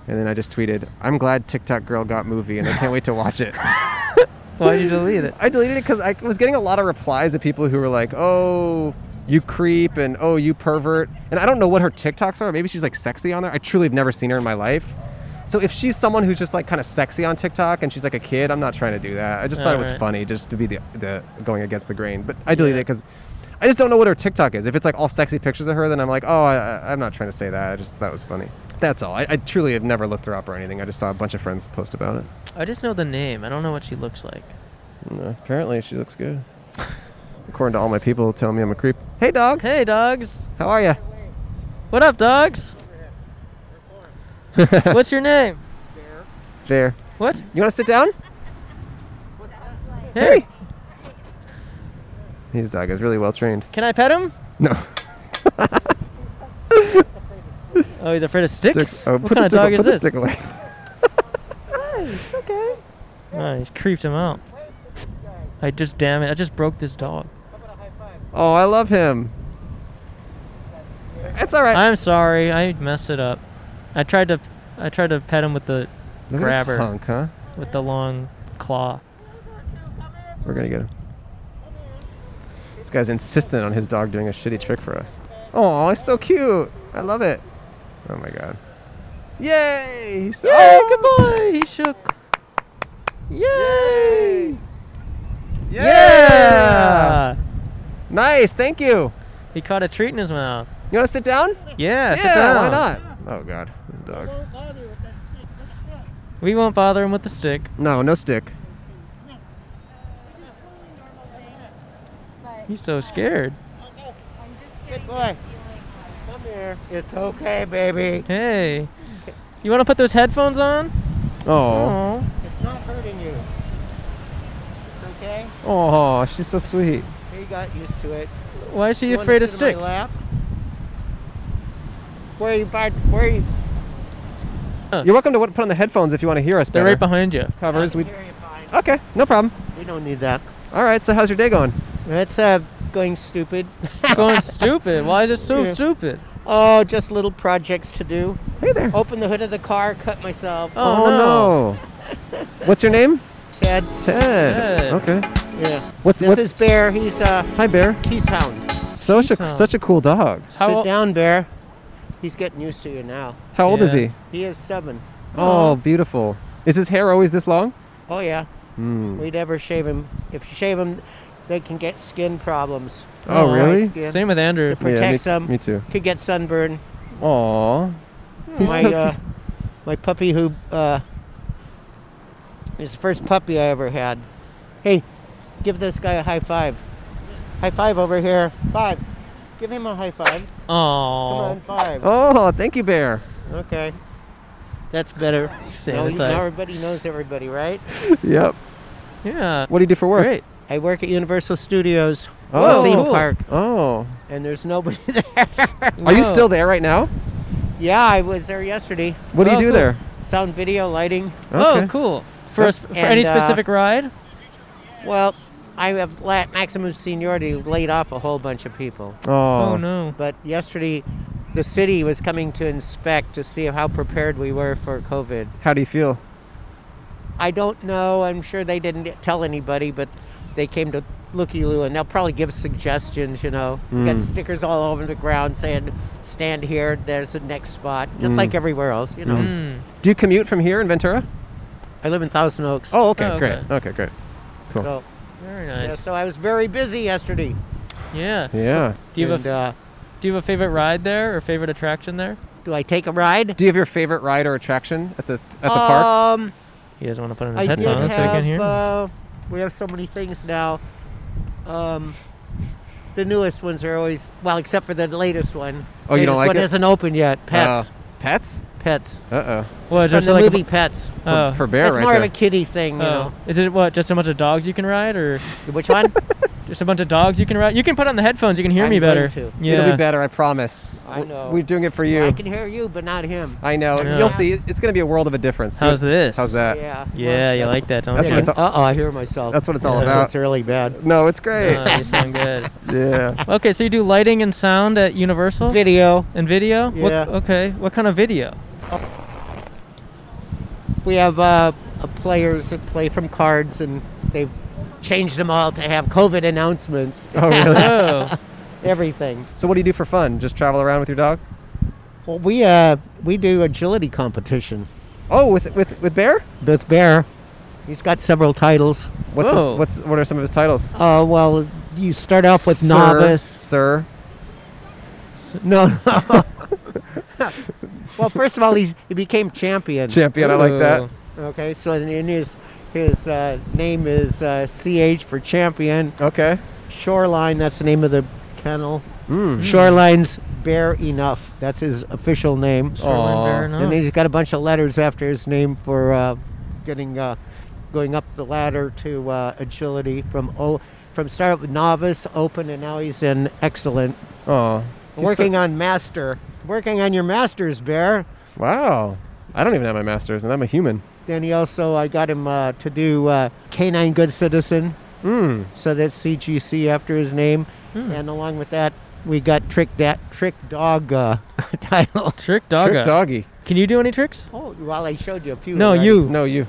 [SPEAKER 2] And then I just tweeted, "I'm glad TikTok girl got movie, and I can't wait to watch it."
[SPEAKER 1] Why did you delete it?
[SPEAKER 2] I deleted it because I was getting a lot of replies of people who were like, "Oh, you creep," and "Oh, you pervert," and I don't know what her TikToks are. Maybe she's like sexy on there. I truly have never seen her in my life. So if she's someone who's just like kind of sexy on TikTok and she's like a kid, I'm not trying to do that. I just thought it was
[SPEAKER 1] Alright.
[SPEAKER 2] funny just to be the, the going against the grain. But I deleted
[SPEAKER 1] Yeah.
[SPEAKER 2] it because I just don't know what her TikTok is. If it's like all sexy pictures of her, then I'm like, oh, I, I, I'm not trying to say that. I just that was funny. That's all. I, I truly have never looked her up or anything. I just saw a bunch of friends post about it.
[SPEAKER 1] I just know the name. I don't know what she looks like.
[SPEAKER 2] No, apparently, she looks good. According to all my people, who tell me I'm a creep. Hey, dog.
[SPEAKER 1] Hey, dogs.
[SPEAKER 2] How are you?
[SPEAKER 1] What up, dogs? What's your name?
[SPEAKER 2] There.
[SPEAKER 1] What?
[SPEAKER 2] You want to sit down?
[SPEAKER 1] Hey.
[SPEAKER 2] His dog is really well trained.
[SPEAKER 1] Can I pet him?
[SPEAKER 2] No.
[SPEAKER 1] Oh, he's afraid of sticks.
[SPEAKER 2] Stick- oh,
[SPEAKER 1] what
[SPEAKER 2] put
[SPEAKER 1] kind
[SPEAKER 2] the
[SPEAKER 1] of
[SPEAKER 2] stick,
[SPEAKER 1] dog
[SPEAKER 2] away-
[SPEAKER 1] is
[SPEAKER 2] put the
[SPEAKER 1] this?
[SPEAKER 2] stick away.
[SPEAKER 1] It's okay. Oh, he creeped him out. I just damn it! I just broke this dog.
[SPEAKER 2] Oh, I love him. It's all right.
[SPEAKER 1] I'm sorry. I messed it up. I tried to, I tried to pet him with the,
[SPEAKER 2] Look at
[SPEAKER 1] grabber.
[SPEAKER 2] this hunk, huh?
[SPEAKER 1] with the long claw.
[SPEAKER 2] We're gonna get him. This guy's insistent on his dog doing a shitty trick for us. Oh, it's so cute. I love it. Oh my god. Yay! He's so-
[SPEAKER 1] Oh, good boy! He shook. Yay!
[SPEAKER 2] Yeah! Nice. Thank you.
[SPEAKER 1] He caught a treat in his mouth.
[SPEAKER 2] You want to sit down?
[SPEAKER 1] Yeah, sit
[SPEAKER 2] yeah. Why
[SPEAKER 1] down.
[SPEAKER 2] not? Oh god, this dog.
[SPEAKER 1] We won't bother him with the stick.
[SPEAKER 2] No, no stick.
[SPEAKER 1] He's so scared.
[SPEAKER 10] It's okay, baby.
[SPEAKER 1] Hey, you want to put those headphones on?
[SPEAKER 2] Oh.
[SPEAKER 1] Oh.
[SPEAKER 10] It's not hurting you. It's okay.
[SPEAKER 2] Oh, she's so sweet.
[SPEAKER 10] He got used to it.
[SPEAKER 1] Why is he
[SPEAKER 10] You wanna
[SPEAKER 1] afraid of
[SPEAKER 10] sit in my
[SPEAKER 1] sticks?
[SPEAKER 10] lap? Where you, bud? Where you?
[SPEAKER 2] You're welcome to what- put on the headphones if you want to hear us.
[SPEAKER 1] They're
[SPEAKER 2] better.
[SPEAKER 1] right behind you.
[SPEAKER 2] Covers. We.
[SPEAKER 10] Here you fine.
[SPEAKER 2] Okay, no problem.
[SPEAKER 10] We don't need that.
[SPEAKER 2] All right. So how's your day going?
[SPEAKER 10] That's uh, going stupid.
[SPEAKER 1] Going stupid. Why is it so
[SPEAKER 10] Yeah.
[SPEAKER 1] stupid?
[SPEAKER 10] oh, just little projects to do.
[SPEAKER 2] Hey there.
[SPEAKER 10] Open the hood of the car, cut myself.
[SPEAKER 1] Oh,
[SPEAKER 2] no. What's your name?
[SPEAKER 10] Ted.
[SPEAKER 2] Ted.
[SPEAKER 1] Ted.
[SPEAKER 2] Okay.
[SPEAKER 10] Yeah.
[SPEAKER 2] What's
[SPEAKER 10] This
[SPEAKER 2] what's
[SPEAKER 10] is Bear. He's a
[SPEAKER 2] Hi Bear.
[SPEAKER 10] peace hound.
[SPEAKER 2] Such a
[SPEAKER 1] Peace
[SPEAKER 2] such a cool dog.
[SPEAKER 1] How
[SPEAKER 10] Sit
[SPEAKER 1] ol-
[SPEAKER 10] down, Bear. He's getting used to you now.
[SPEAKER 2] How old is
[SPEAKER 1] Yeah.
[SPEAKER 2] he?
[SPEAKER 10] He is seven.
[SPEAKER 2] Oh, beautiful. Is his hair always this long?
[SPEAKER 10] Oh yeah.
[SPEAKER 2] Hmm.
[SPEAKER 10] We never shave him. If you shave him, they can get skin problems.
[SPEAKER 2] Oh,
[SPEAKER 10] Dry
[SPEAKER 2] really?
[SPEAKER 10] skin.
[SPEAKER 1] Same with Andrew.
[SPEAKER 10] Yeah. protects
[SPEAKER 2] yeah, me,
[SPEAKER 10] him.
[SPEAKER 2] me too.
[SPEAKER 10] Could get sunburn.
[SPEAKER 2] Aw. He's
[SPEAKER 10] my
[SPEAKER 2] so
[SPEAKER 10] uh,
[SPEAKER 2] cute.
[SPEAKER 10] my puppy who uh, his first puppy I ever had. Hey, give this guy a high five. High five over here. Five. Give him a high five. Come
[SPEAKER 1] Oh.
[SPEAKER 10] on, five.
[SPEAKER 2] Oh, thank you, Bear.
[SPEAKER 10] Okay. That's better. now, you-
[SPEAKER 1] Sanitized.
[SPEAKER 10] now everybody knows everybody, right?
[SPEAKER 2] yep.
[SPEAKER 1] Yeah.
[SPEAKER 2] What do you do for work?
[SPEAKER 1] Great.
[SPEAKER 10] I work at Universal Studios,
[SPEAKER 2] Oh,
[SPEAKER 10] a theme
[SPEAKER 1] cool.
[SPEAKER 10] park,
[SPEAKER 2] Oh.
[SPEAKER 10] and there's nobody there.
[SPEAKER 2] Are you
[SPEAKER 1] Whoa.
[SPEAKER 2] still there right now?
[SPEAKER 10] yeah, I was there yesterday.
[SPEAKER 2] What do you
[SPEAKER 1] Oh,
[SPEAKER 2] do
[SPEAKER 1] cool.
[SPEAKER 2] there?
[SPEAKER 10] Sound, video, lighting.
[SPEAKER 1] Oh,
[SPEAKER 2] Okay.
[SPEAKER 1] cool. For, a sp- for any
[SPEAKER 10] And, uh,
[SPEAKER 1] specific ride?
[SPEAKER 10] Well, I have la- maximum seniority laid off a whole bunch of people.
[SPEAKER 1] Oh,
[SPEAKER 2] Oh.
[SPEAKER 1] no.
[SPEAKER 10] But yesterday, the city was coming to inspect to see how prepared we were for COVID.
[SPEAKER 2] How do you feel?
[SPEAKER 10] I don't know. I'm sure they didn't tell anybody, but they came to Looky Loo, and they'll probably give suggestions. You know, get
[SPEAKER 2] Mm.
[SPEAKER 10] stickers all over the ground saying, "Stand here. There's the next spot," just
[SPEAKER 2] Mm.
[SPEAKER 10] like everywhere else. You know,
[SPEAKER 1] Mm.
[SPEAKER 2] Do you commute from here in Ventura?
[SPEAKER 10] I live in Thousand Oaks.
[SPEAKER 2] Oh, okay,
[SPEAKER 1] Oh, okay.
[SPEAKER 2] great. Okay, great. cool.
[SPEAKER 10] so,
[SPEAKER 1] Very
[SPEAKER 10] yeah,
[SPEAKER 1] nice.
[SPEAKER 10] so I was very busy yesterday.
[SPEAKER 1] Yeah.
[SPEAKER 2] Yeah.
[SPEAKER 1] Do you have
[SPEAKER 10] and,
[SPEAKER 1] a f-
[SPEAKER 10] uh,
[SPEAKER 1] Do you have a favorite ride there or favorite attraction there?
[SPEAKER 10] do I take a ride?
[SPEAKER 2] Do you have your favorite ride or attraction at the at the park? Uh,
[SPEAKER 10] um,
[SPEAKER 1] He doesn't want to put on his
[SPEAKER 10] I did
[SPEAKER 1] headphones so he can
[SPEAKER 10] have.
[SPEAKER 1] hear.
[SPEAKER 10] uh, we have so many things now. Um, the newest ones are always well, except for the latest one.
[SPEAKER 2] Oh, you don't
[SPEAKER 10] Latest
[SPEAKER 2] like
[SPEAKER 10] one
[SPEAKER 2] it?
[SPEAKER 10] isn't open yet. Pets,
[SPEAKER 2] Uh, pets?
[SPEAKER 10] pets.
[SPEAKER 2] Uh oh.
[SPEAKER 1] what,
[SPEAKER 10] From
[SPEAKER 1] just
[SPEAKER 10] the
[SPEAKER 1] like
[SPEAKER 10] movie Pets.
[SPEAKER 1] A, oh,
[SPEAKER 2] For, for bear
[SPEAKER 10] it's
[SPEAKER 2] right
[SPEAKER 10] more
[SPEAKER 2] there.
[SPEAKER 10] of a kiddie thing, you
[SPEAKER 1] oh. Is it what? Just a bunch of dogs you can ride, or
[SPEAKER 10] know. Which one?
[SPEAKER 1] just a bunch of dogs you can ride? You can put on the headphones. You can hear
[SPEAKER 10] I'm
[SPEAKER 1] me
[SPEAKER 10] going
[SPEAKER 1] better.
[SPEAKER 10] to.
[SPEAKER 1] Yeah.
[SPEAKER 2] It'll be better, I promise.
[SPEAKER 10] I
[SPEAKER 2] W-
[SPEAKER 10] know.
[SPEAKER 2] We're doing it for you.
[SPEAKER 10] I can hear you, but not him.
[SPEAKER 2] I know.
[SPEAKER 1] I know.
[SPEAKER 2] You'll see. It's going to be a world of a difference. See
[SPEAKER 1] How's
[SPEAKER 2] what-
[SPEAKER 1] this?
[SPEAKER 2] How's that?
[SPEAKER 10] yeah.
[SPEAKER 1] Yeah, you
[SPEAKER 2] That's-
[SPEAKER 1] like that, don't
[SPEAKER 2] that's
[SPEAKER 1] you?
[SPEAKER 2] what it's all-
[SPEAKER 10] Uh oh, I hear myself.
[SPEAKER 2] That's what it's all
[SPEAKER 10] That's
[SPEAKER 2] about.
[SPEAKER 10] what's really bad.
[SPEAKER 2] No, it's great.
[SPEAKER 1] Oh, you sound good.
[SPEAKER 2] yeah.
[SPEAKER 1] Okay, so you do lighting and sound at Universal
[SPEAKER 10] Video.
[SPEAKER 1] and video. What,
[SPEAKER 10] Yeah.
[SPEAKER 1] okay, what kind of video?
[SPEAKER 10] We have uh, uh, players that play from cards, and they've changed them all to have COVID announcements.
[SPEAKER 2] Oh, really?
[SPEAKER 1] Oh,
[SPEAKER 10] Everything.
[SPEAKER 2] so, what do you do for fun? Just travel around with your dog?
[SPEAKER 10] Well, we uh we do agility competition
[SPEAKER 2] Oh, with with with Bear?
[SPEAKER 10] with Bear. He's got several titles. Oh.
[SPEAKER 2] What's his,
[SPEAKER 1] Whoa.
[SPEAKER 2] what's what are some of his titles?
[SPEAKER 10] Uh, well, you start off with
[SPEAKER 2] Sir,
[SPEAKER 10] novice.
[SPEAKER 2] Sir. No, no.
[SPEAKER 10] well, first of all, he's he became champion.
[SPEAKER 2] Champion, I
[SPEAKER 1] Oh.
[SPEAKER 2] like that. Ooh.
[SPEAKER 10] Okay, so then in his his uh, name is uh, CH for champion.
[SPEAKER 2] Okay.
[SPEAKER 10] Shoreline, that's the name of the kennel.
[SPEAKER 1] Hmm.
[SPEAKER 2] Mm.
[SPEAKER 10] Shoreline's Bear Enough. That's his official name.
[SPEAKER 1] Shoreline Bear Aw.
[SPEAKER 10] And
[SPEAKER 1] Enough.
[SPEAKER 10] he's got a bunch of letters after his name for uh, getting uh, going up the ladder to uh, agility from o from start with novice, open, and now he's in excellent.
[SPEAKER 2] Oh.
[SPEAKER 10] Working on master. Working on your master's bear.
[SPEAKER 2] Wow. I don't even have my master's, and I'm a human.
[SPEAKER 10] Then he also I got him uh, to do uh, canine good citizen.
[SPEAKER 2] Mm.
[SPEAKER 10] So that's CGC after his name.
[SPEAKER 2] Hmm.
[SPEAKER 10] And along with that, we got trick da- trick dog uh, title.
[SPEAKER 1] Trick dogga.
[SPEAKER 2] Trick doggy.
[SPEAKER 1] Can you do any tricks?
[SPEAKER 10] Oh, well, I showed you a few.
[SPEAKER 1] No,
[SPEAKER 10] already.
[SPEAKER 1] you.
[SPEAKER 2] No, you.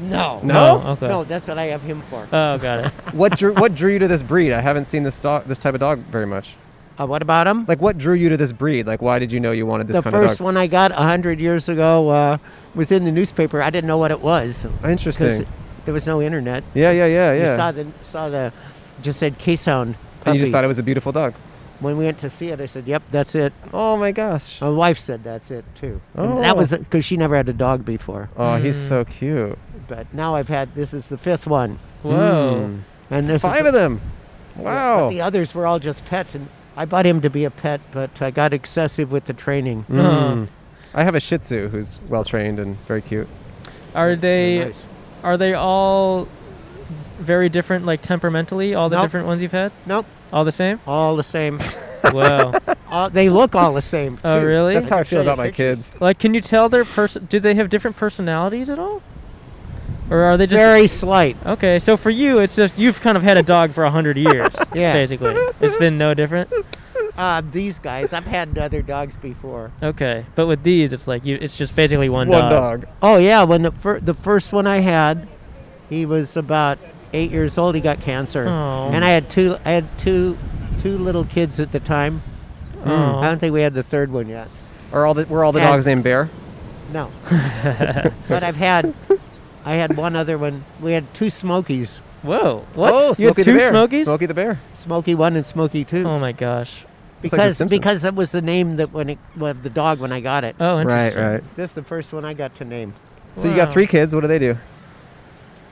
[SPEAKER 10] No.
[SPEAKER 2] No?
[SPEAKER 1] No, okay.
[SPEAKER 10] No, that's what I have him for.
[SPEAKER 1] Oh, got it.
[SPEAKER 2] what drew What drew you to this breed? I haven't seen this dog, this type of dog, very much.
[SPEAKER 10] Uh, what about him?
[SPEAKER 2] Like, what drew you to this breed? Like, why did you know you wanted this
[SPEAKER 10] the
[SPEAKER 2] kind
[SPEAKER 10] first
[SPEAKER 2] of dog?
[SPEAKER 10] one I got a hundred years ago uh, was in the newspaper. I didn't know what it was. 'cause
[SPEAKER 2] Interesting.
[SPEAKER 10] it- There was no internet.
[SPEAKER 2] Yeah, yeah, yeah, yeah.
[SPEAKER 10] You saw the saw the just said K-Sound.
[SPEAKER 2] and you just
[SPEAKER 10] puppy.
[SPEAKER 2] thought it was a beautiful dog.
[SPEAKER 10] when we went to see it, I said, "Yep, that's it."
[SPEAKER 2] Oh my gosh.
[SPEAKER 10] My wife said, "That's it too." And that
[SPEAKER 2] Oh.
[SPEAKER 10] was because she never had a dog before.
[SPEAKER 2] Oh, he's
[SPEAKER 10] Hmm.
[SPEAKER 2] so cute.
[SPEAKER 10] But now I've had this is the fifth one,
[SPEAKER 1] Whoa.
[SPEAKER 2] Mm.
[SPEAKER 10] and this
[SPEAKER 2] Five
[SPEAKER 10] is
[SPEAKER 2] of them.
[SPEAKER 10] But
[SPEAKER 2] Wow.
[SPEAKER 10] the others were all just pets, and I bought him to be a pet, but I got excessive with the training. Uh-huh.
[SPEAKER 2] Mm. I have a Shih Tzu who's well trained and very cute.
[SPEAKER 1] Are they
[SPEAKER 10] Nice.
[SPEAKER 1] are they all very different, like temperamentally? All the
[SPEAKER 10] Nope.
[SPEAKER 1] different ones you've had,
[SPEAKER 10] Nope,
[SPEAKER 1] all the same?
[SPEAKER 10] all the same.
[SPEAKER 1] Wow.
[SPEAKER 10] all, they look all the same.
[SPEAKER 1] Oh,
[SPEAKER 10] too.
[SPEAKER 1] really?
[SPEAKER 2] That's how I feel
[SPEAKER 10] Show you
[SPEAKER 2] about my
[SPEAKER 10] pictures.
[SPEAKER 2] kids.
[SPEAKER 1] Like, can you tell their person? Do they have different personalities at all, or are they just
[SPEAKER 10] Very slight.
[SPEAKER 1] okay? So for you, it's just you've kind of had a dog for a hundred years.
[SPEAKER 10] Yeah.
[SPEAKER 1] Basically, it's been no different.
[SPEAKER 10] Uh, these guys, I've had other dogs before.
[SPEAKER 1] Okay, but with these, it's like you. It's just basically one,
[SPEAKER 2] One
[SPEAKER 1] dog.
[SPEAKER 2] dog.
[SPEAKER 10] Oh yeah, when the fir- the first one I had, he was about eight years old. He got cancer,
[SPEAKER 1] Aw.
[SPEAKER 10] and I had two. I had two, two little kids at the time.
[SPEAKER 1] Aw.
[SPEAKER 10] I don't think we had the third one yet.
[SPEAKER 2] Are all the were all the
[SPEAKER 10] And-
[SPEAKER 2] dogs named Bear?
[SPEAKER 10] No. but I've had, I had one other one. We had two Smokies,
[SPEAKER 1] Whoa! What?
[SPEAKER 2] Oh,
[SPEAKER 1] you have
[SPEAKER 2] Smokey
[SPEAKER 1] two
[SPEAKER 2] the Bear.
[SPEAKER 1] Smokies?
[SPEAKER 2] Smokey the Bear.
[SPEAKER 10] Smokey one and Smokey two,
[SPEAKER 1] Oh my gosh!
[SPEAKER 2] It's like The
[SPEAKER 10] because
[SPEAKER 2] Simpsons.
[SPEAKER 10] because that was the name that when it of the dog when I got it.
[SPEAKER 1] Oh, interesting.
[SPEAKER 10] This is the first one I got to name.
[SPEAKER 2] So you got
[SPEAKER 1] Wow.
[SPEAKER 2] three kids. What do they do?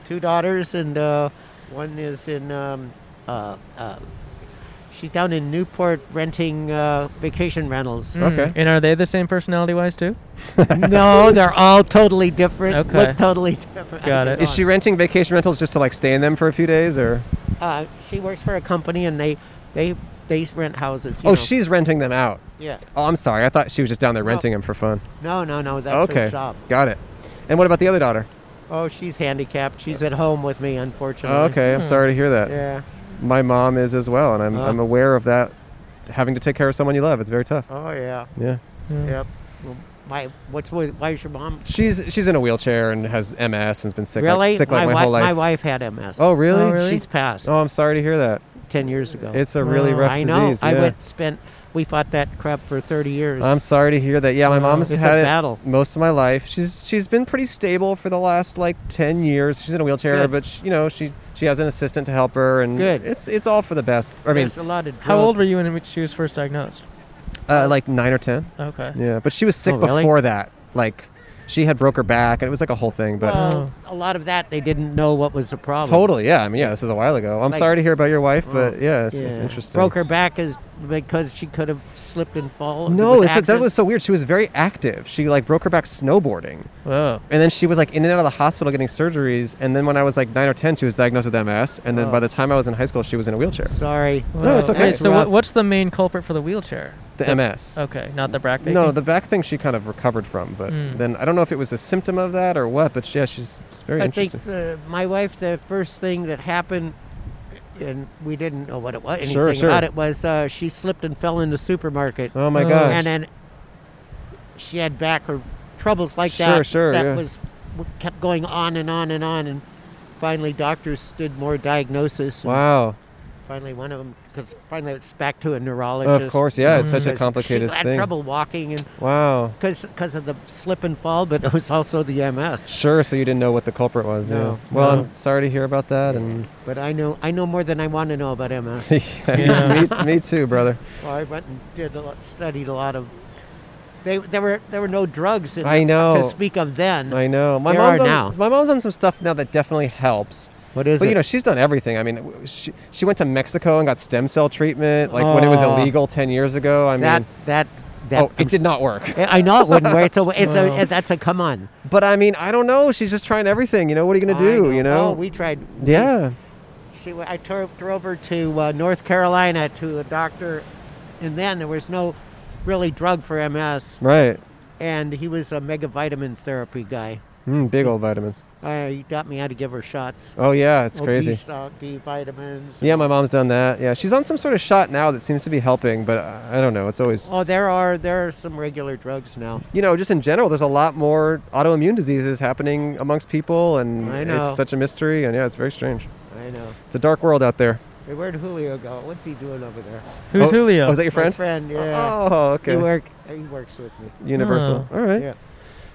[SPEAKER 10] Two daughters and uh, one is in. Um, uh, uh, she's down in Newport renting uh, vacation rentals.
[SPEAKER 1] Mm,
[SPEAKER 2] Okay.
[SPEAKER 1] And are they the same personality-wise too?
[SPEAKER 10] no, they're all totally different.
[SPEAKER 1] Okay.
[SPEAKER 10] Look totally different.
[SPEAKER 1] Got it.
[SPEAKER 2] Is she renting vacation rentals just to like stay in them for a few days, or?
[SPEAKER 10] Uh, she works for a company and they they they rent houses. you
[SPEAKER 2] Oh,
[SPEAKER 10] know.
[SPEAKER 2] she's renting them out.
[SPEAKER 10] Yeah.
[SPEAKER 2] Oh, I'm sorry. I thought she was just
[SPEAKER 1] Oh.
[SPEAKER 2] down there renting them for fun.
[SPEAKER 10] No, no, no. That's
[SPEAKER 2] okay.
[SPEAKER 10] her job.
[SPEAKER 2] Got it. And what about the other daughter?
[SPEAKER 10] Oh, she's handicapped. She's at home with me, unfortunately.
[SPEAKER 2] Oh, okay. I'm sorry to hear that.
[SPEAKER 10] Yeah.
[SPEAKER 2] My mom is as well, and I'm,
[SPEAKER 10] Uh.
[SPEAKER 2] I'm aware of that. Having to take care of someone you love, it's very tough.
[SPEAKER 10] Oh, yeah.
[SPEAKER 2] Yeah.
[SPEAKER 10] Yep. Well, my what's with, why is your mom?
[SPEAKER 2] She's she's in a wheelchair and has MS and has been sick
[SPEAKER 10] really?
[SPEAKER 2] like, sick like my,
[SPEAKER 10] my,
[SPEAKER 2] whole
[SPEAKER 10] wi- my
[SPEAKER 2] life.
[SPEAKER 10] wife had MS.
[SPEAKER 2] Oh, really?
[SPEAKER 1] Oh, really?
[SPEAKER 10] She's passed
[SPEAKER 2] Oh, I'm sorry to hear that.
[SPEAKER 10] ten years ago. Oh,
[SPEAKER 2] It's a really
[SPEAKER 1] Wow.
[SPEAKER 2] rough
[SPEAKER 10] I know.
[SPEAKER 2] disease.
[SPEAKER 10] I
[SPEAKER 2] yeah.
[SPEAKER 10] went spent. We fought that crap for thirty years.
[SPEAKER 2] I'm sorry to hear that. Yeah, my mom's
[SPEAKER 10] Uh, It's a
[SPEAKER 2] had it
[SPEAKER 10] battle.
[SPEAKER 2] most of my life. She's she's been pretty stable for the last like ten years. She's in a wheelchair,
[SPEAKER 10] Good.
[SPEAKER 2] but she, you know she she has an assistant to help her, and
[SPEAKER 10] Good.
[SPEAKER 2] it's it's all for the best. I mean,
[SPEAKER 10] There's a lot of. Drug.
[SPEAKER 1] How old were you when it- she was first diagnosed?
[SPEAKER 2] uh, like nine or ten.
[SPEAKER 1] Okay.
[SPEAKER 2] Yeah, but she was sick
[SPEAKER 10] Oh, really?
[SPEAKER 2] before that. Like, she had broke her back, and it was like a whole thing. But
[SPEAKER 1] Oh.
[SPEAKER 10] Well, a lot of that they didn't know what was the problem.
[SPEAKER 2] totally, yeah. I mean, yeah, this is a while ago. I'm
[SPEAKER 10] Like-
[SPEAKER 2] sorry to hear about your wife, but yeah, it's, it's
[SPEAKER 10] Oh. Yeah.
[SPEAKER 2] interesting.
[SPEAKER 10] Broke her back is because she could have slipped and fallen.
[SPEAKER 2] No, it's, that
[SPEAKER 10] accident.
[SPEAKER 2] was so weird. She was very active. She like broke her back snowboarding,
[SPEAKER 1] Whoa.
[SPEAKER 2] and then she was like in and out of the hospital getting surgeries. And then when I was like nine or ten, she was diagnosed with MS. And then
[SPEAKER 10] Oh.
[SPEAKER 2] by the time I was in high school, she was in a wheelchair.
[SPEAKER 10] Sorry.
[SPEAKER 2] No, it's
[SPEAKER 1] Whoa.
[SPEAKER 2] okay.
[SPEAKER 1] Wait, so
[SPEAKER 10] Rough.
[SPEAKER 1] what, what's the main culprit for the wheelchair?
[SPEAKER 2] The MS.
[SPEAKER 10] Oh,
[SPEAKER 1] Okay, not the back.
[SPEAKER 2] No,
[SPEAKER 1] aching?
[SPEAKER 2] the back thing she kind of recovered from, but
[SPEAKER 10] Hmm.
[SPEAKER 1] Mm.
[SPEAKER 2] then I don't know if it was a symptom of that or what. But yeah, she's it's very
[SPEAKER 10] I
[SPEAKER 2] interesting.
[SPEAKER 10] think the, my wife, the first thing that happened, and we didn't know what it was, anything
[SPEAKER 2] Sure, sure.
[SPEAKER 10] about it, was uh, she slipped and fell in the supermarket.
[SPEAKER 2] oh my
[SPEAKER 1] Oh.
[SPEAKER 2] gosh!
[SPEAKER 10] and then she had back or troubles like
[SPEAKER 2] Sure,
[SPEAKER 10] that.
[SPEAKER 2] sure,
[SPEAKER 10] That
[SPEAKER 2] yeah.
[SPEAKER 10] was w- kept going on and on and on. And finally, doctors did more diagnosis. and
[SPEAKER 2] wow.
[SPEAKER 10] Finally, one of them, because finally it's back to a neurologist.
[SPEAKER 2] course, yeah, it's such a
[SPEAKER 10] 'Cause
[SPEAKER 2] complicated
[SPEAKER 10] Mm. she had
[SPEAKER 2] thing.
[SPEAKER 10] trouble walking and
[SPEAKER 2] Wow.
[SPEAKER 10] because of the slip and fall, but it was also the MS.
[SPEAKER 2] Sure. So you didn't know what the culprit was.
[SPEAKER 10] No,
[SPEAKER 2] yeah. Well,
[SPEAKER 10] no.
[SPEAKER 2] I'm sorry to hear about that. And
[SPEAKER 10] But I know I know more than I want to know about MS.
[SPEAKER 2] yeah, me, me too, brother.
[SPEAKER 10] Well, I went and did a lot, studied a lot of. They there were there were no drugs. In,
[SPEAKER 2] I know.
[SPEAKER 10] to speak of then.
[SPEAKER 2] I know. My
[SPEAKER 10] there
[SPEAKER 2] mom's
[SPEAKER 10] are
[SPEAKER 2] on,
[SPEAKER 10] now.
[SPEAKER 2] My mom's on some stuff now that definitely helps.
[SPEAKER 10] What is
[SPEAKER 2] but
[SPEAKER 10] it?
[SPEAKER 2] you know, she's done everything. I mean, w- she, she went to Mexico and got stem cell treatment, like when it was
[SPEAKER 10] Oh.
[SPEAKER 2] illegal ten years ago. I
[SPEAKER 10] that
[SPEAKER 2] mean,
[SPEAKER 10] that that.
[SPEAKER 2] oh, it did not work.
[SPEAKER 10] I I know it wouldn't work. It's a it's
[SPEAKER 2] Wow.
[SPEAKER 10] a that's a come on.
[SPEAKER 2] But I mean, I don't know. She's just trying everything. You know, what are you gonna
[SPEAKER 10] I
[SPEAKER 2] do? You know?
[SPEAKER 10] Oh, we tried.
[SPEAKER 2] yeah.
[SPEAKER 10] She, I tore, drove her to uh, North Carolina to a doctor, and then there was no really drug for MS,
[SPEAKER 2] Right.
[SPEAKER 10] and he was a mega vitamin therapy guy.
[SPEAKER 2] Mm, big old vitamins.
[SPEAKER 10] Uh, he got me how to give her shots.
[SPEAKER 2] Oh yeah, it's
[SPEAKER 10] Oh,
[SPEAKER 2] crazy.
[SPEAKER 10] B, stock, B vitamins.
[SPEAKER 2] Yeah, my mom's done that. Yeah, she's on some sort of shot now that seems to be helping, but uh, I I don't know. It's always
[SPEAKER 10] Oh, there are there are some regular drugs now.
[SPEAKER 2] you know, just in general, there's a lot more autoimmune diseases happening amongst people, and
[SPEAKER 10] I know.
[SPEAKER 2] it's such a mystery. And yeah, it's very strange.
[SPEAKER 10] I know.
[SPEAKER 2] It's a dark world out there.
[SPEAKER 10] Hey, where'd Julio go? What's he doing over there?
[SPEAKER 1] Who's
[SPEAKER 2] Oh,
[SPEAKER 1] Julio?
[SPEAKER 2] oh, is that your friend?
[SPEAKER 10] My friend, yeah.
[SPEAKER 2] Oh, okay.
[SPEAKER 10] He work. He works with me.
[SPEAKER 2] Universal.
[SPEAKER 1] Oh.
[SPEAKER 2] All right.
[SPEAKER 10] Yeah.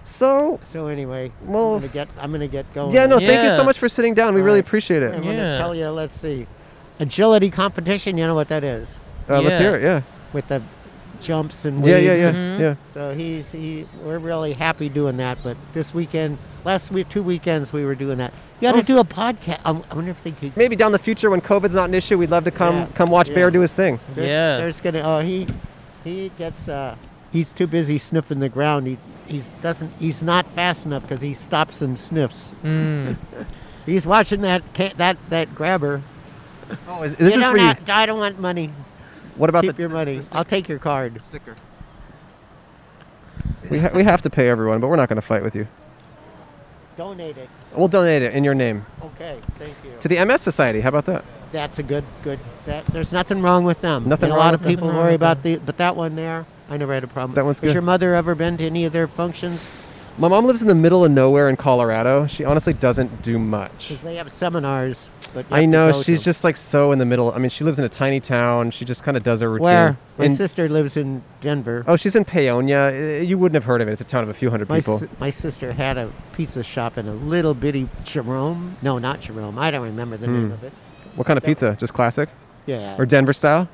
[SPEAKER 2] So
[SPEAKER 10] So anyway,
[SPEAKER 2] Well,
[SPEAKER 10] I'm gonna get I'm gonna get going.
[SPEAKER 2] yeah, no, thank you
[SPEAKER 1] Yeah.
[SPEAKER 2] so much for sitting down. We
[SPEAKER 10] All
[SPEAKER 2] really
[SPEAKER 10] right.
[SPEAKER 2] appreciate
[SPEAKER 10] I
[SPEAKER 2] it.
[SPEAKER 10] want to
[SPEAKER 1] Yeah.
[SPEAKER 10] tell you. Let's see, agility competition. You know what that is,
[SPEAKER 2] Uh, Let's
[SPEAKER 1] Yeah.
[SPEAKER 2] hear it. Yeah.
[SPEAKER 10] with the jumps and
[SPEAKER 2] Yeah,
[SPEAKER 10] weaves.
[SPEAKER 2] yeah, yeah,
[SPEAKER 1] Mhm.
[SPEAKER 2] yeah.
[SPEAKER 10] So he's he. We're really happy doing that. But this weekend, last week, two weekends, we were doing that. You got
[SPEAKER 2] Oh,
[SPEAKER 10] to
[SPEAKER 2] s-
[SPEAKER 10] do a podcast. I I wonder if they could.
[SPEAKER 2] Maybe down the future when COVID's not an issue, we'd love to come
[SPEAKER 10] Yeah.
[SPEAKER 2] come watch
[SPEAKER 10] Yeah.
[SPEAKER 2] Bear do his thing.
[SPEAKER 10] There's,
[SPEAKER 1] Yeah.
[SPEAKER 10] There's gonna. Oh, he he gets. uh He's too busy sniffing the ground. He he's doesn't. He's not fast enough because he stops and sniffs.
[SPEAKER 1] Mm.
[SPEAKER 10] He's watching that ca- that that grabber.
[SPEAKER 2] Oh, is, this
[SPEAKER 10] you
[SPEAKER 2] is
[SPEAKER 10] know,
[SPEAKER 2] for you.
[SPEAKER 10] not- I don't want money.
[SPEAKER 2] What about
[SPEAKER 10] Keep
[SPEAKER 2] the?
[SPEAKER 10] your money. I'll take your card.
[SPEAKER 2] We ha- we have to pay everyone, but we're not going to fight with you.
[SPEAKER 10] Donate it.
[SPEAKER 2] We'll donate it in your name
[SPEAKER 10] Okay, thank you.
[SPEAKER 2] to the MS Society. How about that?
[SPEAKER 10] That's a good, good. That, there's nothing wrong with them.
[SPEAKER 2] Nothing
[SPEAKER 10] And A
[SPEAKER 2] wrong
[SPEAKER 10] lot of
[SPEAKER 2] with them.
[SPEAKER 10] people
[SPEAKER 1] Nothing wrong
[SPEAKER 10] worry
[SPEAKER 1] with
[SPEAKER 10] about the, but that one there, I never had a problem.
[SPEAKER 2] That one's good.
[SPEAKER 10] Has your mother ever been to any of their functions?
[SPEAKER 2] My mom lives in the middle of nowhere in Colorado. She honestly doesn't do much.
[SPEAKER 10] Because they have seminars. But you have
[SPEAKER 2] I
[SPEAKER 10] to
[SPEAKER 2] know
[SPEAKER 10] go to
[SPEAKER 2] she's
[SPEAKER 10] them.
[SPEAKER 2] just like so in the middle. I mean, she lives in a tiny town. She just kind of does her routine.
[SPEAKER 10] Where my
[SPEAKER 2] In-
[SPEAKER 10] sister lives in Denver.
[SPEAKER 2] oh, she's in Paonia. I- You wouldn't have heard of it. It's a town of a few hundred
[SPEAKER 10] my
[SPEAKER 2] people.
[SPEAKER 10] si- my sister had a pizza shop in a little bitty Jerome. No, not Jerome. I don't remember the name of it.
[SPEAKER 2] Hmm. what kind of pizza? Just classic
[SPEAKER 10] Yeah.
[SPEAKER 2] or Denver style?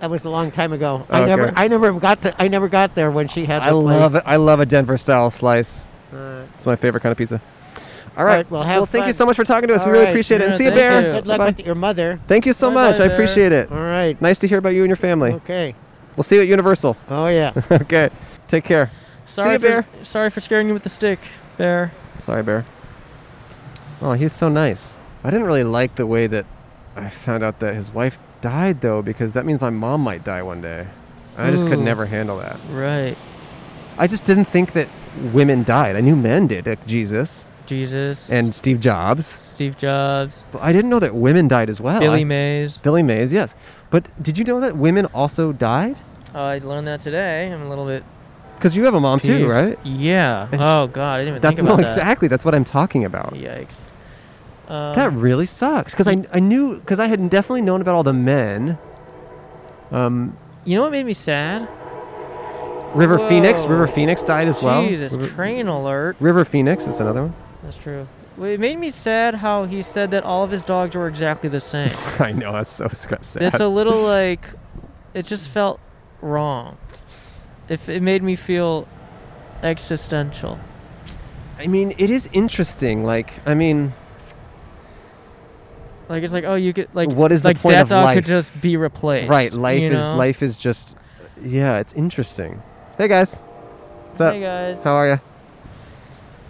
[SPEAKER 10] that was a long time ago. I
[SPEAKER 2] Okay.
[SPEAKER 10] never I never got to, I never got there when she had.
[SPEAKER 2] I
[SPEAKER 10] the place.
[SPEAKER 2] love it. I love a Denver style slice.
[SPEAKER 10] Uh,
[SPEAKER 2] It's my favorite kind of pizza. All
[SPEAKER 10] All
[SPEAKER 2] right.
[SPEAKER 10] right, well, have
[SPEAKER 2] thank you
[SPEAKER 10] fun.
[SPEAKER 2] so much for talking to us.
[SPEAKER 10] All
[SPEAKER 2] we really
[SPEAKER 10] right.
[SPEAKER 2] appreciate it. And
[SPEAKER 1] Yeah,
[SPEAKER 2] see you,
[SPEAKER 1] thank
[SPEAKER 2] Bear.
[SPEAKER 1] you.
[SPEAKER 10] good luck
[SPEAKER 2] Bye-bye.
[SPEAKER 10] with your mother.
[SPEAKER 2] Thank you so
[SPEAKER 1] Bye-bye,
[SPEAKER 2] much. I
[SPEAKER 1] Bear.
[SPEAKER 2] appreciate it.
[SPEAKER 10] All right.
[SPEAKER 2] Nice to hear about you and your family.
[SPEAKER 10] Okay.
[SPEAKER 2] We'll see you at Universal.
[SPEAKER 10] Oh yeah.
[SPEAKER 2] okay. Take care.
[SPEAKER 1] Sorry,
[SPEAKER 2] ya, Bear.
[SPEAKER 1] For, sorry for scaring you with the stick, Bear.
[SPEAKER 2] Sorry, Bear. Oh, he was so nice. I didn't really like the way that I found out that his wife died, though, because that means my mom might die one day. I just could
[SPEAKER 1] Ooh.
[SPEAKER 2] never handle that.
[SPEAKER 1] Right.
[SPEAKER 2] I just didn't think that women died. I knew men did, like Jesus
[SPEAKER 1] Jesus.
[SPEAKER 2] and Steve Jobs.
[SPEAKER 1] Steve Jobs.
[SPEAKER 2] But I didn't know that women died as well.
[SPEAKER 1] Billy
[SPEAKER 2] Oh, I-
[SPEAKER 1] Mays.
[SPEAKER 2] Billy Mays, yes. But did you know that women also died?
[SPEAKER 1] I learned that today. I'm a little bit.
[SPEAKER 2] Because you have a mom too,
[SPEAKER 1] peeved.
[SPEAKER 2] right?
[SPEAKER 1] Yeah.
[SPEAKER 2] It's-
[SPEAKER 1] oh God, I didn't even
[SPEAKER 2] That-
[SPEAKER 1] think about
[SPEAKER 2] no,
[SPEAKER 1] that.
[SPEAKER 2] exactly. That's what I'm talking about.
[SPEAKER 1] Yikes. Um,
[SPEAKER 2] That really sucks because I, I knew because I had definitely known about all the men. Um,
[SPEAKER 1] you know what made me sad?
[SPEAKER 2] River Phoenix,
[SPEAKER 1] Whoa.
[SPEAKER 2] River Phoenix died as well.
[SPEAKER 1] Jesus,
[SPEAKER 2] River,
[SPEAKER 1] train alert.
[SPEAKER 2] River Phoenix is another one.
[SPEAKER 1] That's true. Well, it made me sad how he said that all of his dogs were exactly the same.
[SPEAKER 2] I know that's so sc- sad.
[SPEAKER 1] It's a little like, it just felt wrong. If it made me feel existential.
[SPEAKER 2] I mean, it is interesting. Like, I mean,
[SPEAKER 1] Like it's like oh you could like
[SPEAKER 2] What is the
[SPEAKER 1] like
[SPEAKER 2] point
[SPEAKER 1] that
[SPEAKER 2] of
[SPEAKER 1] dog
[SPEAKER 2] life?
[SPEAKER 1] could just be replaced.
[SPEAKER 2] right? Life
[SPEAKER 1] you
[SPEAKER 2] is
[SPEAKER 1] know?
[SPEAKER 2] life is just, yeah, it's interesting. Hey guys, what's up?
[SPEAKER 1] Hey guys.
[SPEAKER 2] How are you?
[SPEAKER 1] you?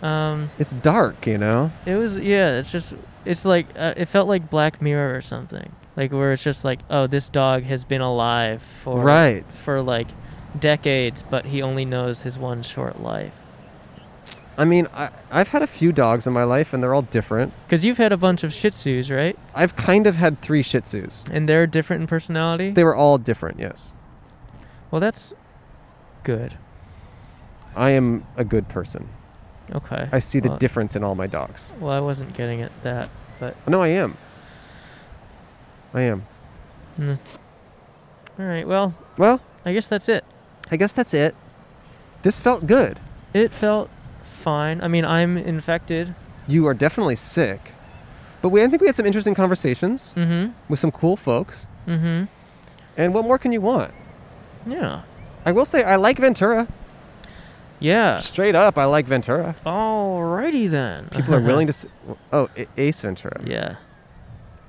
[SPEAKER 1] Um,
[SPEAKER 2] It's dark, you know.
[SPEAKER 1] it was yeah. It's just it's like uh, it felt like Black Mirror or something. Like where it's just like oh this dog has been alive for
[SPEAKER 2] Right.
[SPEAKER 1] for like decades, but he only knows his one short life.
[SPEAKER 2] I mean, I, I've had a few dogs in my life, and they're all different.
[SPEAKER 1] Because you've had a bunch of Shih Tzus, right?
[SPEAKER 2] I've kind of had three Shih Tzus.
[SPEAKER 1] And they're different in personality.
[SPEAKER 2] They were all different, yes.
[SPEAKER 1] well, that's good.
[SPEAKER 2] I am a good person.
[SPEAKER 1] Okay.
[SPEAKER 2] I see the
[SPEAKER 1] well,
[SPEAKER 2] difference in all my dogs. Oh,
[SPEAKER 1] Well, I wasn't getting at that, but
[SPEAKER 2] No, I am. I am.
[SPEAKER 1] Mm. All right. Well,
[SPEAKER 2] Well,
[SPEAKER 1] I guess that's it.
[SPEAKER 2] I guess that's it. This felt good.
[SPEAKER 1] It felt fine. I mean, I'm infected.
[SPEAKER 2] You are definitely sick, but we I think we had some interesting conversations
[SPEAKER 1] Mhm.
[SPEAKER 2] with some cool folks.
[SPEAKER 1] Mhm.
[SPEAKER 2] And what more can you want?
[SPEAKER 1] Yeah.
[SPEAKER 2] I will say I like Ventura.
[SPEAKER 1] Yeah.
[SPEAKER 2] Straight up, I like Ventura.
[SPEAKER 1] Alrighty then.
[SPEAKER 2] People are willing to. S- oh, A- Ace Ventura.
[SPEAKER 1] Yeah.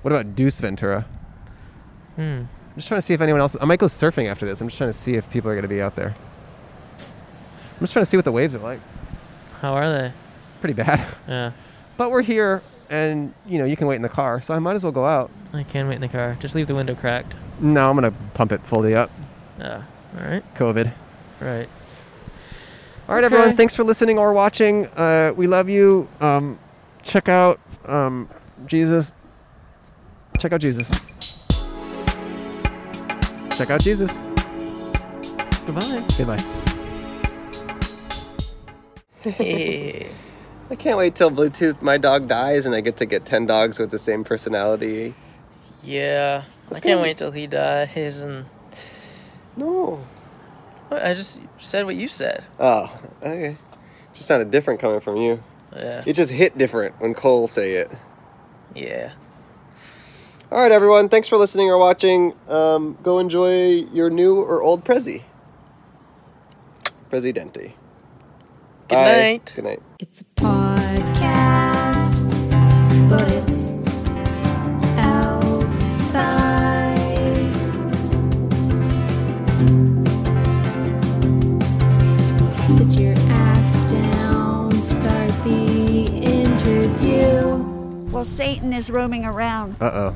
[SPEAKER 2] What about Deuce Ventura?
[SPEAKER 1] Hmm.
[SPEAKER 2] I'm just trying to see if anyone else. I might go surfing after this. I'm just trying to see if people are going to be out there. I'm just trying to see what the waves are like.
[SPEAKER 1] How are they?
[SPEAKER 2] Pretty bad.
[SPEAKER 1] Yeah.
[SPEAKER 2] But we're here, and you know you can wait in the car, so I might as well go out.
[SPEAKER 1] I can wait in the car. Just leave the window cracked.
[SPEAKER 2] No, I'm gonna pump it fully up.
[SPEAKER 1] Yeah. All right.
[SPEAKER 2] COVID.
[SPEAKER 1] Right.
[SPEAKER 2] All right, everyone. Thanks for listening or watching. Uh, we love you. Um, check out um, Jesus. Check out Jesus. Check out Jesus.
[SPEAKER 1] Goodbye.
[SPEAKER 2] Goodbye.
[SPEAKER 6] Yeah.
[SPEAKER 2] I can't wait till Bluetooth my dog dies and I get to get 10 dogs with the same personality.
[SPEAKER 6] Yeah. I can't wait till he dies and.
[SPEAKER 2] No.
[SPEAKER 6] I just said what you said.
[SPEAKER 2] Oh, okay. Just sounded different coming from you.
[SPEAKER 6] Yeah.
[SPEAKER 2] It just hit different when Cole say it.
[SPEAKER 6] Yeah.
[SPEAKER 2] All right, everyone. Thanks for listening or watching. Um, go enjoy your new or old Prezi. Presidente.
[SPEAKER 6] Good
[SPEAKER 2] Bye.
[SPEAKER 6] night.
[SPEAKER 2] Good night.
[SPEAKER 3] podcast, but it's outside. Sit your ass down, start the interview.
[SPEAKER 4] Well, Satan is roaming around.
[SPEAKER 2] Uh oh.